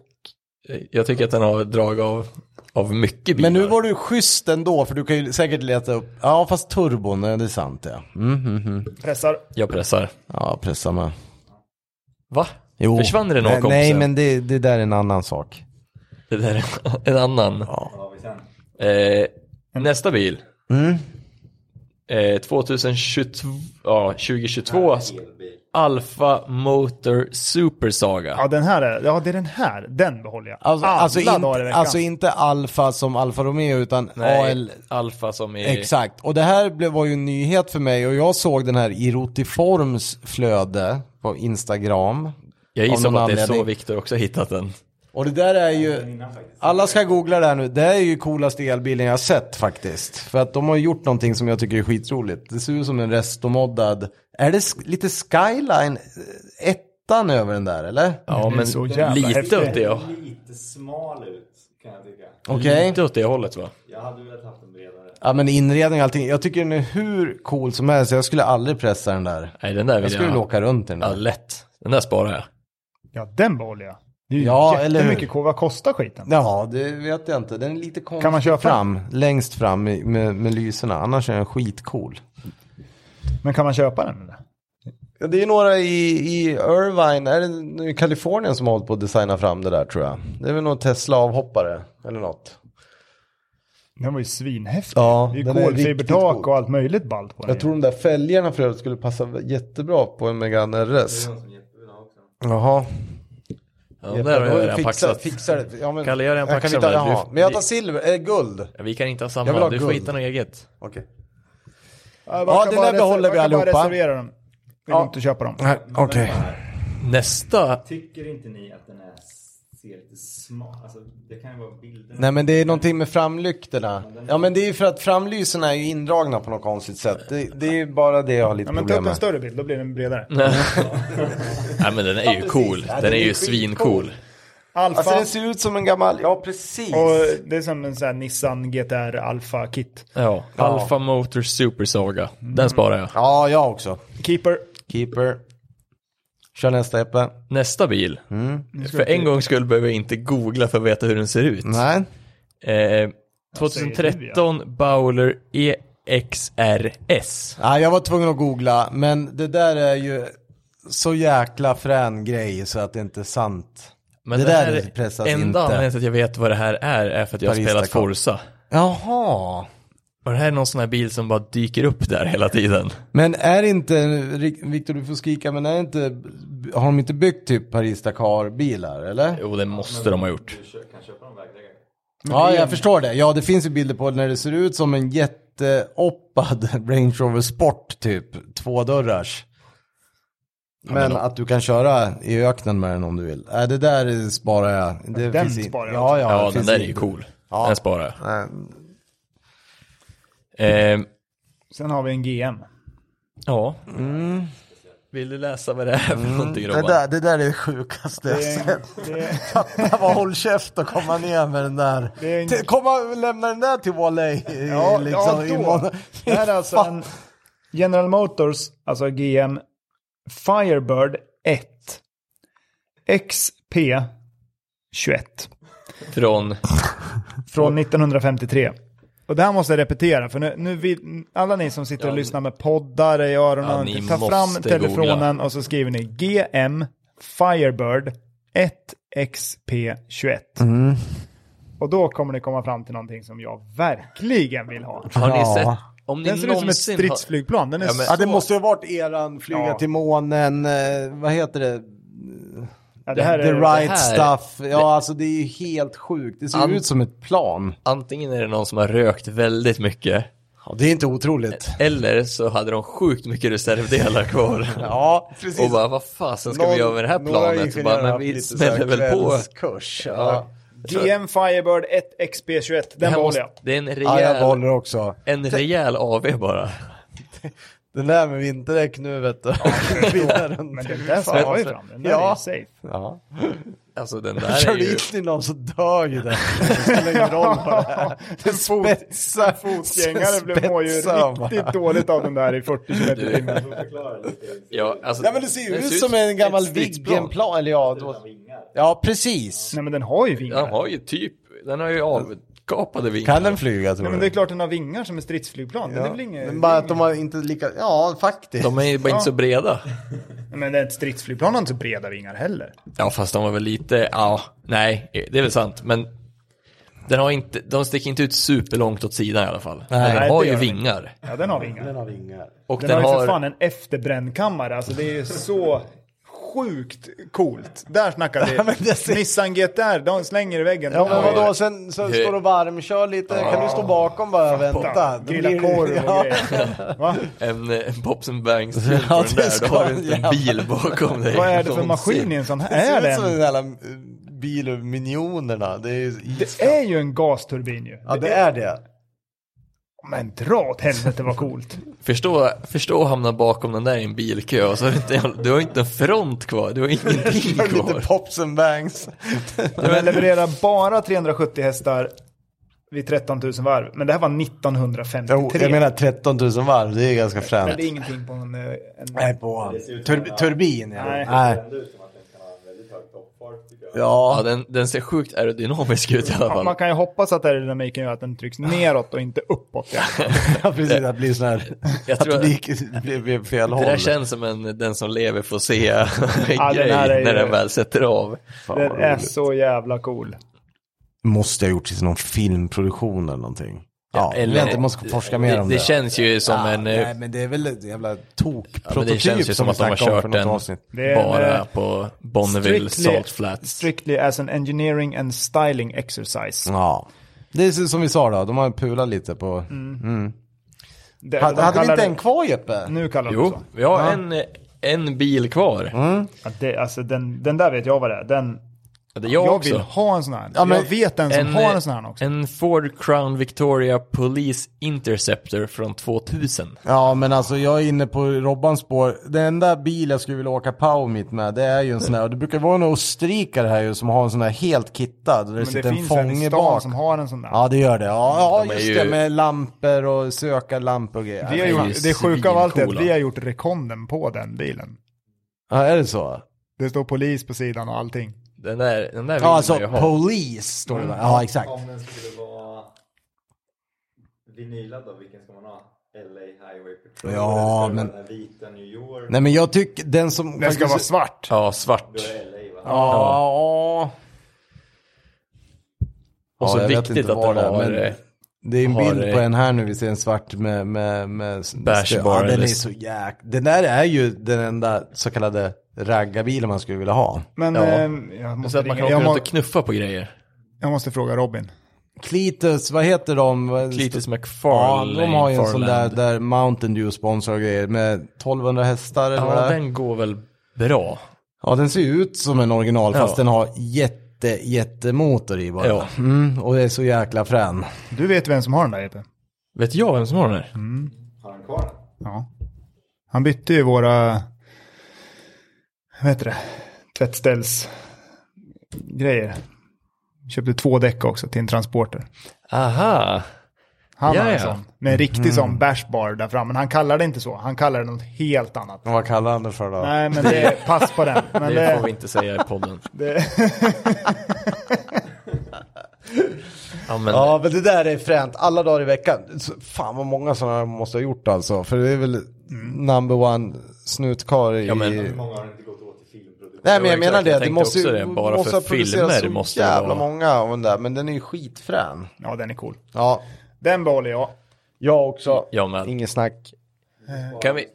S2: jag tycker att den har drag av, av mycket bilar.
S1: Men nu var du schysst ändå, för du kan ju säkert leta upp... Ja, fast turbon, det är sant det. Mm, mm, mm.
S3: Pressar.
S2: Jag pressar.
S1: Ja, pressa med.
S2: Va?
S1: Jo.
S2: Försvann det någon
S1: Nej, nej,
S2: kompisen?
S1: men det, det där är en annan sak.
S2: Det där är en annan.
S4: Vad har vi sen?
S1: Mm.
S2: Eh, nästa bil. eh, 2022, ja, 2022
S4: Elbil.
S2: Alfa Motor Super Saga.
S3: Ja, den här är, ja, det är den här. Den behåller jag.
S1: Alltså,
S3: Alla
S1: alltså, in,
S3: dagar i veckan.
S1: alltså inte Alfa som Alfa Romeo utan
S2: Nej,
S1: AL.
S2: Alfa som är...
S1: Exakt, och det här blev, var ju en nyhet för mig och jag såg den här i Rotiforms flöde på Instagram.
S2: Jag
S1: Av
S2: gissar
S1: någon
S2: på att det är så
S1: anledning.
S2: Viktor också har hittat den.
S1: Och det där är ju, alla ska googla det här nu, det här är ju coolaste elbilen jag har sett faktiskt. För att de har gjort någonting som jag tycker är skitroligt. Det ser ut som en restomoddad, är det sk- lite skyline, eh, ettan över den där eller?
S2: Ja, men
S3: så jävla häftigt.
S2: lite åt det, ja.
S4: Lite smal ut kan jag tycka.
S1: Okej.
S2: Lite åt det hållet va?
S4: Jag hade velat haft en bredare.
S1: Ja men inredning och allting, jag tycker den är hur cool som helst, jag skulle aldrig pressa den där.
S2: Nej, den där
S1: Jag
S2: vill
S1: skulle
S2: jag...
S1: vilja åka runt i den
S2: Ja,
S1: där.
S2: lätt. Den där sparar jag.
S3: Ja, den behåller jag. Det är ju
S1: Ja, eller hur?
S3: jättemycket kol. Vad kostar skiten?
S1: Ja, det vet jag inte. Den är lite konstig
S3: Kan man köpa?
S1: fram, längst fram i- med, med lyserna. Annars är den skitcool.
S3: Men kan man köpa den eller?
S1: Ja, det är några i, i Irvine, är det nu i Kalifornien som har hållit på att designa fram det där tror jag. Det är väl någon Tesla-avhoppare eller något.
S3: Den var ju svinhäftig.
S1: Ja,
S3: det är ju
S1: den är riktigt
S3: kolfibertak
S1: god.
S3: och allt möjligt ballt på den.
S1: Jag tror de där fälgarna för övrigt skulle passa jättebra på en Megane RS.
S4: Någon som Jeppe vill ha också.
S1: Jaha.
S2: Ja, den där har jag redan
S1: fixa,
S2: paxat.
S1: Fixa det. Ja, men,
S2: Kalle, jag har redan
S1: kan
S2: paxat
S1: inte,
S2: den där. Du-
S1: jaha. Men jag tar
S2: vi-
S1: silver, eh, guld.
S2: Ja, Vi kan inte ha
S1: Jag vill
S2: samma.
S1: ha
S2: Du får
S1: guld.
S2: hitta något eget.
S1: Okej.
S3: Ja,
S1: Ja, den där behåller vi
S3: Man kan bara
S1: allihopa.
S3: reservera dem. Det går
S1: Ja.
S3: inte att köpa dem.
S1: Nej, Okej.
S2: Nästa.
S4: Tycker inte ni att den är, ser lite smal? Alltså det kan ju vara bilden.
S1: Nej men det är någonting med framlyktorna. Ja men det är ju för att framlyserna är ju indragna på något konstigt sätt. Det, det är ju bara det jag har lite
S3: Ja, men ta
S1: problem
S3: upp en
S1: med.
S3: större bild, då blir den bredare.
S2: Nej, men den är ju cool.
S1: Ja,
S2: Den är ju
S1: skitcool.
S2: svincool.
S3: Alfa.
S1: Alltså den ser ut som en gammal, ja precis.
S3: och det är som en sån här Nissan GTR Alfa Kit.
S2: Ja, Alfa Motor Super Saga.
S1: Mm.
S2: Den sparar jag.
S1: Ja, jag också.
S3: Keeper.
S1: Keeper. Kör nästa Eppe.
S2: Nästa bil.
S1: Mm.
S2: För en gångs skull behöver jag inte googla för att veta hur den ser ut.
S1: Nej.
S2: Eh,
S3: säger
S2: 2013 Bowler E EXRS.
S1: Ja, jag var tvungen att googla, men det där är ju så jäkla frän grej så att det inte är sant.
S2: Men
S1: det,
S2: det
S1: där
S2: här-
S1: pressas
S2: Enda anledningen
S1: inte.
S2: till att jag vet vad det här är är för att jag har
S1: Barista
S2: spelat
S1: Cup.
S2: Forza.
S1: Jaha.
S2: Och det här är någon sån här bil som bara dyker upp där hela tiden.
S1: Men är det inte, Rik- Viktor du får skrika, men är det inte, har de inte byggt typ Paris-Dakar-bilar eller?
S2: Jo, det måste de ha gjort.
S4: Du kö- kan köpa någon vägläggare.
S1: Ja, jag förstår det. Ja, det finns ju bilder på när det ser ut som en jätteoppad Range Rover Sport typ, tvådörrars. Men, att du kan köra i öknen med den om du vill. Äh, det där sparar jag. Det
S3: Den
S1: i-
S3: sparar jag
S1: Ja, ja,
S2: Ja,
S1: det
S2: den
S1: finns
S2: där
S1: i-
S2: är ju cool.
S1: Ja.
S2: Den sparar jag.
S1: Nej.
S2: Eh,
S3: Sen har vi en GM.
S2: ja. Vill du läsa vad det är för någonting
S1: Mm. Det
S2: Robban?
S1: där, det där är det sjukaste jag
S3: Det är,
S1: sett.
S3: en, det, är,
S1: Fatta vad håll käft och komma ner med den där.
S3: Det är en-
S1: T- Komma och lämna den där till Wally.
S3: ja, ja,
S1: i
S3: då.
S1: mån-
S3: Det här är alltså en General Motors, alltså GM Firebird 1. XP 21.
S2: Från...
S3: Från 1953. Och det här måste jag repetera, för nu, nu vill, alla ni som sitter och lyssnar med poddar i
S2: Ja,
S3: öronen,
S2: ni
S3: ta fram
S2: måste
S3: telefonen och så skriver ni GM Firebird 1XP21.
S2: Mm.
S3: Och då kommer ni komma fram till någonting som jag verkligen vill ha.
S2: Har ni
S1: Ja.
S2: sett? Om ni
S3: Den ser ut som ett
S2: någonsin har-
S3: stridsflygplan. Den är
S2: Ja, men-
S1: Ja, det
S3: så...
S1: måste ju ha varit eran flyga
S3: Ja.
S1: till månen, eh, vad heter det?
S3: Ja, det här
S1: The
S3: är...
S1: right
S2: här-
S1: stuff. Ja, alltså det är ju helt sjukt. Det ser
S2: An-
S1: ut som ett plan.
S2: Antingen är det någon som har rökt väldigt mycket,
S1: Ja, det är inte otroligt.
S2: eller så hade de sjukt mycket reservdelar kvar.
S1: Ja, precis.
S2: Och bara, vad fasen ska vi göra med det här planet? Och bara, men vi smäller väl på.
S1: Kurs, ja.
S3: GM Firebird 1XP21, den
S2: Det, här
S3: behåller
S2: måste,
S3: jag.
S2: det är en
S1: ja, jag
S2: rejäl,
S1: behåller också.
S2: en rejäl AV bara.
S1: Den där med vinterdäck nu vet du.
S3: Men den där stavar ju fram, den där är
S1: Ja.
S3: ju safe.
S1: Ja.
S2: Alltså den där är
S1: Kör du
S2: ju...
S1: in i någon så dör ju den. Det spelar ingen roll vad det är. Det spetsar.
S3: Fotgängare blev mår ju
S1: spetsar man.
S3: riktigt dåligt av den där i 40 km i timmen.
S4: Du får förklara lite.
S2: Ja, alltså,
S1: Ja men det ser ju
S2: den
S1: ut som en gammal Viggenplan. Eller ja,
S4: Utan
S1: då...
S4: vingar.
S1: ja, precis.
S3: Nej men den har ju
S2: Den
S3: vingar.
S2: har ju typ, den har ju avkapade vingar.
S1: Kan den flyga tror du?
S3: Nej, men det är klart den har vingar som ett stridsflygplan. Den är väl inget...
S1: Men bara att de har inte lika, ja faktiskt.
S2: De är ju bara inte så breda.
S3: Nej, Men ett stridsflygplan har inte så breda vingar heller.
S2: Ja fast de var väl lite, ja, nej, det är väl sant. Men Den har inte, de sticker inte ut superlångt åt sidan i alla fall.
S1: Nej,
S2: den
S3: det
S2: har
S3: gör
S2: ju
S3: den.
S2: vingar.
S3: Ja, den har vi inga.
S5: Den har vingar.
S2: Och den,
S3: Den, har ju
S2: har,
S3: för fan en efterbrännkammare. Alltså det är ju så sjukt coolt. Där snackar vi.
S1: Ja, men det ser-
S3: Nissan GTR, de slänger i väggen.
S5: Ja men
S2: Ja, ja.
S5: vadå, sen, sen står du varmkör lite, kan du stå bakom bara och vänta? Det
S3: Grilla
S5: blir-
S3: korv och
S5: Ja.
S3: grejer. Va?
S2: en, eh, en Pops and Bangs film
S1: Ja,
S2: på den
S1: det
S2: där.
S1: ska
S2: Då har du inte en
S1: jävla-
S2: bil bakom dig.
S3: Vad är det för
S2: som
S3: maskin i
S2: ser-
S3: en sån
S1: Det
S3: här?
S1: ser
S3: Är
S1: ut som
S3: den?
S1: den jävla eh, bil ur Minionerna. Det är ju
S3: Det är ju en gasturbin ju.
S5: Ja det är det.
S3: Men dra åt helvete vad coolt.
S2: Förstå, förstå att hamna bakom den där i en bilkö och så har du inte, du har inte en front kvar, du har ingenting
S1: Jag vill inte
S2: kvar.
S1: pops and bangs.
S3: Den levererar bara 370 hästar vid 13 000 varv. Men det här var 1953.
S1: Jo, jag menar 13 000 varv, det är ganska
S3: Men det
S1: fränt.
S3: är ingenting på en... eh, en...
S5: Nej på tur, turbin ja.
S3: Nej.
S1: Nej.
S2: Ja,
S1: Ja,
S2: den, den ser sjukt aerodynamisk ut i alla fall.
S3: Man kan ju hoppas att aerodynamiken gör att den trycks neråt och inte uppåt. Ja.
S1: precis. Att bli sån här...
S2: Eh, Jag
S1: att
S2: tror-
S1: det gick- det blev blev fel
S2: Det
S1: håll.
S2: där känns som en den som lever får se
S3: Ja,
S2: en
S3: den
S2: grej
S3: här är ju-
S2: när den väl sätter av.
S1: Fan,
S3: Den
S1: vad
S3: är
S1: roligt.
S3: så jävla cool.
S1: Måste jag ha gjort till någon filmproduktion eller någonting. Ja, eller jag inte måste forska mer
S2: det,
S1: om
S2: det.
S1: det.
S2: känns ju som
S1: Ja,
S2: en eh,
S1: nej, men det är väl ett jävla
S2: men det
S1: tokprototyp
S2: känns ju som
S1: vi
S2: att de har
S1: snackade om
S2: kört
S1: för något
S2: den.
S1: avsnitt.
S3: Det är en,
S2: bara
S3: eh,
S2: på Bonneville
S3: strictly-
S2: Salt Flats.
S3: Strictly as an engineering and styling exercise.
S1: Ja. Det är så- som vi sa då, de har pulat lite på...
S3: Det,
S1: Hade,
S3: Mm, de
S1: hade vi
S3: kallar
S1: inte
S3: det-
S1: en kvar Jeppe?
S3: Nu kallar de det
S2: Jo,
S3: så.
S2: vi har en, eh, en bil kvar.
S3: Ja, det, alltså, den, den där vet jag vad det är. Den,
S2: Ja, Det är
S3: jag
S2: jag, också.
S3: vill ha en sån här.
S1: Ja, men-
S3: jag vet en som har en sån här
S2: eh,
S3: också.
S2: en Ford Crown Victoria Police Interceptor från 2000.
S1: Ja men alltså jag är inne på Robbans spår. Den enda bil jag skulle vilja åka Powmit med det är ju en sån här, och det brukar vara en österrikare här ju som har en sån här helt kittad. Där det
S3: men det
S1: sitter en
S3: finns en i
S1: fånge
S3: stan
S1: bak.
S3: som har en sån där.
S1: Ja det gör det. Ja,
S2: De
S1: ja
S2: är
S1: just
S2: ju-
S1: det med lampor och sökarlampor och grejer.
S3: vi har
S2: den är
S3: gjort,
S2: ju
S3: det sjuka av allt är att
S2: svincoola.
S3: vi har gjort rekonden på den bilen.
S1: Ja är det så?
S3: Det står polis på sidan och allting.
S2: Den där, den där vill
S1: Ja alltså
S2: man ju ha.
S1: police står det där. Ja exakt.
S4: Om den skulle vara vinylad då, vilken ska man ha? LA Highway Patrol?
S1: Ja,
S4: Eller ska det
S1: men-
S4: vara den här vita New York?
S1: Nej men jag tycker den som...
S3: Den ska
S1: faktiskt-
S3: vara svart.
S2: Ja, svart.
S4: Då är LA va?
S1: Ja.
S2: Och så
S1: jag vet
S2: viktigt
S1: inte
S2: att
S1: var
S2: den
S1: det är,
S2: har...
S1: men-
S2: eh,
S1: Det är en
S2: Har,
S1: bild
S2: eh,
S1: på en här nu, vi ser en svart med... med, med
S2: Bash
S1: ja,
S2: bar
S1: den
S2: eller-
S1: är så jäk... Den där är ju den enda så kallade raggarbilen man skulle vilja ha.
S3: Men
S2: Ja.
S3: ehm, jag,
S2: Så
S3: måste
S2: att man kan åka
S3: ringa, jag,
S2: runt
S3: må,
S2: och knuffa på grejer.
S3: jag måste fråga Robin.
S1: Clitus, vad heter de?
S2: Cletus
S1: Ja,
S2: McFarlane.
S1: de har ju en sån där,
S2: Farland.
S1: där Mountain Dew sponsrar och grejer med 1200 hästar eller vad det
S2: Ja,
S1: är.
S2: den går väl bra.
S1: Ja, den ser ju ut som en original fast
S2: Ja.
S1: den har jätte, jättemotor i bara.
S2: Ja.
S1: Mm, och det är så jäkla frän.
S3: Du vet vem som har den där Jeppe?
S2: Vet jag vem som har den här?
S3: Mm.
S4: Har den kvar den?
S3: Ja. Han bytte ju våra, vad heter det, tvättställsgrejer. Köpte två däck också till en transporter.
S2: Aha.
S3: Han har en
S2: Jaja.
S3: sån. Med en riktig
S2: Mm.
S3: sån bashbar där fram. Men han kallar det inte så. Han kallar det något helt annat.
S1: Vad kallar han det för då?
S3: Nej, men det är pass på den. Men
S2: Det får vi
S3: det,
S2: inte säga i podden.
S3: det,
S2: Ja, men
S1: Ja, men det där är fränt. Alla dagar i veckan. Så- Fan vad många sådana här måste ha gjort alltså. För det är väl number one snutkar i...
S2: Ja, men-
S1: Nej,
S4: Hur många har inte gått åt till filmproduktion?
S1: men jag
S2: exakt.
S1: menar det.
S2: Jag
S1: det
S2: tänkte
S1: måste ju
S2: också det. Bara
S1: måste
S2: för
S1: ha producerats
S2: filmer
S1: så
S2: måste det
S1: jävla
S2: vara-
S1: många av den där. Men den är ju skitfrän.
S3: ja, den är cool.
S1: Ja,
S3: Den behåller jag.
S1: jag också.
S2: Jag med.
S1: Inget snack.
S2: kan vi,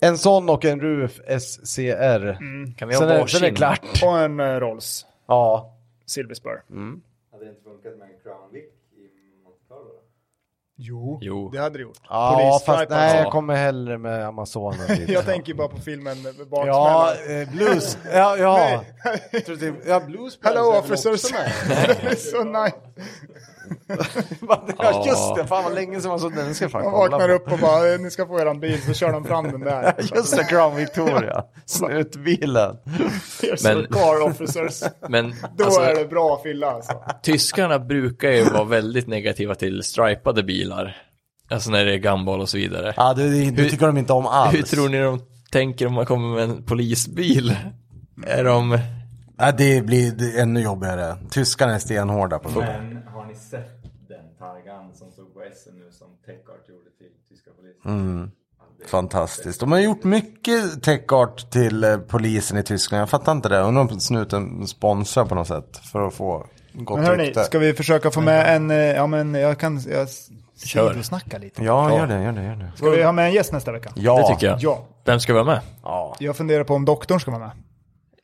S1: En sån och en RUF SCR.
S3: Mm.
S2: kan vi ha
S1: Sen, är, sen är
S2: varsin?
S1: det klart.
S3: Och en eh, Rolls
S1: Ja.
S3: Silverspur.
S4: Hade det inte funkat med en Crown Vic i Monte Carlo då?
S3: Jo,
S2: Jo.
S3: det hade det gjort.
S1: Ja,
S3: Polisstripe
S1: fast nej,
S3: alltså.
S1: jag kommer hellre med Amazonen. dit.
S3: Jag tänker bara på filmen med baksmällan.
S1: Ja, eh, blues. Ja, ja.
S3: Nej.
S1: Tror du det- ja blues.
S3: Hello
S1: är väl
S3: officers.
S1: också med.
S3: Alltså, det är så nice.
S1: Ja just det, fan vad länge sedan man såg den. Den ska jag fan
S3: Man
S1: kolla
S3: vaknar
S1: på.
S3: upp och bara, eh, ni ska få eran bil, så kör de fram den där.
S1: Just det, Crown Victoria. Snutbilen.
S3: Here's your
S2: Men-
S3: car officers.
S2: Men
S3: Då
S2: alltså,
S3: är det bra fylla alltså.
S2: tyskarna brukar ju vara väldigt negativa till stripade bilar. Alltså när det är gumball och så vidare.
S1: Ja, det, det tycker de inte om alls.
S2: Hur tror ni de tänker om man kommer med en polisbil? Är de...
S1: Ja, det blir det- ännu jobbigare. Tyskarna är stenhårda på det.
S4: Men har ni sett den Targan som stod på SM nu som Techart gjorde till tyska polisen?
S1: Fantastiskt. De har gjort mycket tech art till eh, polisen i Tyskland. Jag fattar inte det. Undrar om snuten sponsrar på något sätt för att få gott
S3: Men hörni,
S1: rykte.
S3: ska vi försöka få med en, eh, ja men jag kan, jag s-
S2: Kör.
S3: sidosnacka lite.
S1: Ja, gör det, gör det, gör det.
S3: Ska vi ha med en gäst nästa vecka?
S1: Ja.
S2: Det tycker jag.
S3: Ja.
S2: Vem ska vara med?
S1: Ja.
S3: Jag funderar på om doktorn ska vara med.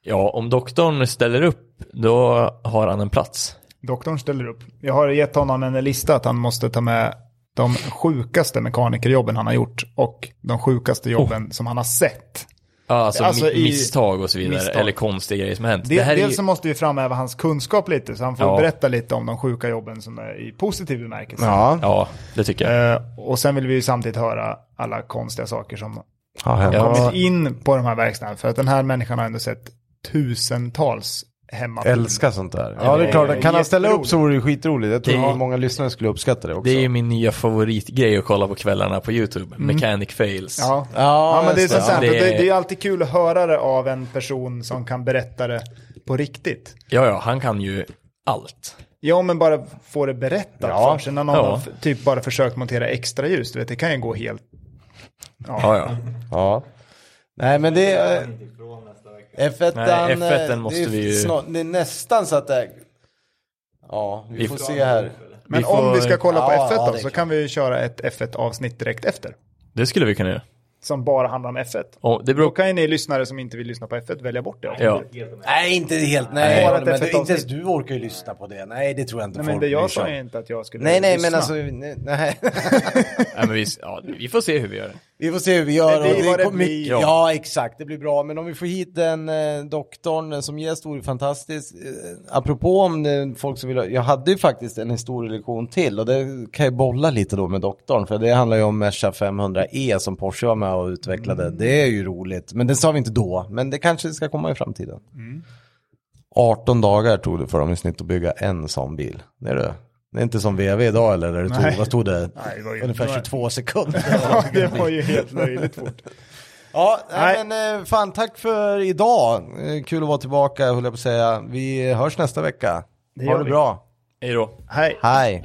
S2: Ja, om doktorn ställer upp, då har han en plats.
S3: Doktorn ställer upp. Jag har gett honom en lista att han måste ta med de sjukaste mekanikerjobben han har gjort och de sjukaste
S2: Oh.
S3: jobben som han har sett.
S2: Ja, alltså,
S3: Alltså
S2: mi-
S3: i-
S2: misstag och så vidare,
S3: misstag.
S2: eller konstiga grejer som har hänt.
S3: Det,
S2: Det här är
S3: dels
S2: ju...
S3: så måste vi framhäva hans kunskap lite, så han får
S2: Ja.
S3: berätta lite om de sjuka jobben som är i positiv bemärkelse.
S1: Ja,
S2: Ja, det tycker jag.
S3: Eh, och sen vill vi ju samtidigt höra alla konstiga saker som
S1: ja, hemma.
S2: Ja.
S3: kommit in på de här verkstäderna. För att den här människan har ändå sett tusentals hemma.
S1: Älskar sånt där. Ja, det är klart. Kan han ställa upp så vore det skitroligt. Jag tror
S2: Det-
S1: många lyssnare skulle uppskatta det också.
S2: Det är ju min nya favoritgrej att kolla på kvällarna på YouTube. Mechanic fails.
S3: Ja. Ja,
S1: Ja,
S3: men det är
S1: just
S3: sånt
S1: det.
S3: där.
S2: Det
S3: Det,
S2: är-
S3: det är ju alltid kul att höra det av en person som kan berätta det på riktigt.
S2: ja, ja, han kan ju allt.
S3: Ja, men bara få det berättat
S1: Ja.
S3: för sig. När någon
S2: Ja.
S3: har f- typ bara försökt montera extra ljus, du vet, det kan ju gå helt...
S2: Ja, ja.
S1: Ja. Nej, men det är... eh,
S4: Inte ifrån nästa vecka.
S1: F1,
S2: Nej,
S1: eh,
S2: F1
S1: det är
S2: måste vi ju-
S1: snar- det är nästan så att det... Ja, vi,
S2: Vi
S1: får
S2: får-
S1: se här.
S3: Men
S2: Vi får-
S3: om vi ska kolla på
S1: Ja,
S3: F1
S1: ja,
S3: då,
S1: det
S3: så
S1: är
S3: kan vi ju köra ett F1-avsnitt direkt efter.
S2: Det skulle vi kunna göra.
S3: Som bara handlar om F1.
S2: Och det
S3: Då
S2: beror...
S3: kan ju ni lyssnare som inte vill lyssna på F1 välja bort det. också.
S2: Ja.
S1: Nej, inte helt. Nej,
S3: Bara ett
S1: men du,
S3: F1-avsnitt.
S1: inte ens du orkar ju lyssna på det. Nej, det tror jag inte
S3: Nej,
S1: folk
S3: men det
S1: bryr
S3: jag
S1: sig
S3: sa
S1: om.
S3: ju inte att jag skulle
S1: Nej, nej, men
S3: lyssna.
S1: alltså... nej, Nej.
S2: Nej, men vi... Ja, vi får se hur vi gör det.
S1: Vi får se hur vi gör.
S3: Det blir
S1: och
S3: vad det
S1: kom-
S3: blir.
S1: mycket-
S2: Ja.
S1: Ja, exakt. Det blir bra. Men om vi får hit den eh, doktorn eh, som gäst vore fantastiskt. Eh, apropå om eh, folk som vill ha, Jag hade ju faktiskt en historielektion till och det kan jag bolla lite då med doktorn. För det handlar ju om Merca 500E som Porsche var med och utvecklade.
S3: Mm.
S1: Det är ju roligt. Men det sa vi inte då. Men det kanske ska komma i framtiden.
S3: Mm.
S1: 18 dagar tog det för dem i snitt att bygga en sån bil. Det är det. Det är inte som VW idag eller? Där det
S3: Nej.
S1: tog, vad tog det?
S3: Nej, det var ju-
S1: Ungefär
S3: det var-
S1: 22 sekunder.
S3: Ja, det var ju helt löjligt fort.
S1: Ja, nej.
S3: Nej.
S1: men eh, fan tack för idag. Eh, Kul att vara tillbaka höll jag på att säga. Vi hörs nästa vecka.
S3: Det
S1: ha
S3: gör
S1: det
S3: vi.
S1: bra.
S2: Hej då.
S3: Hej.
S1: Hej.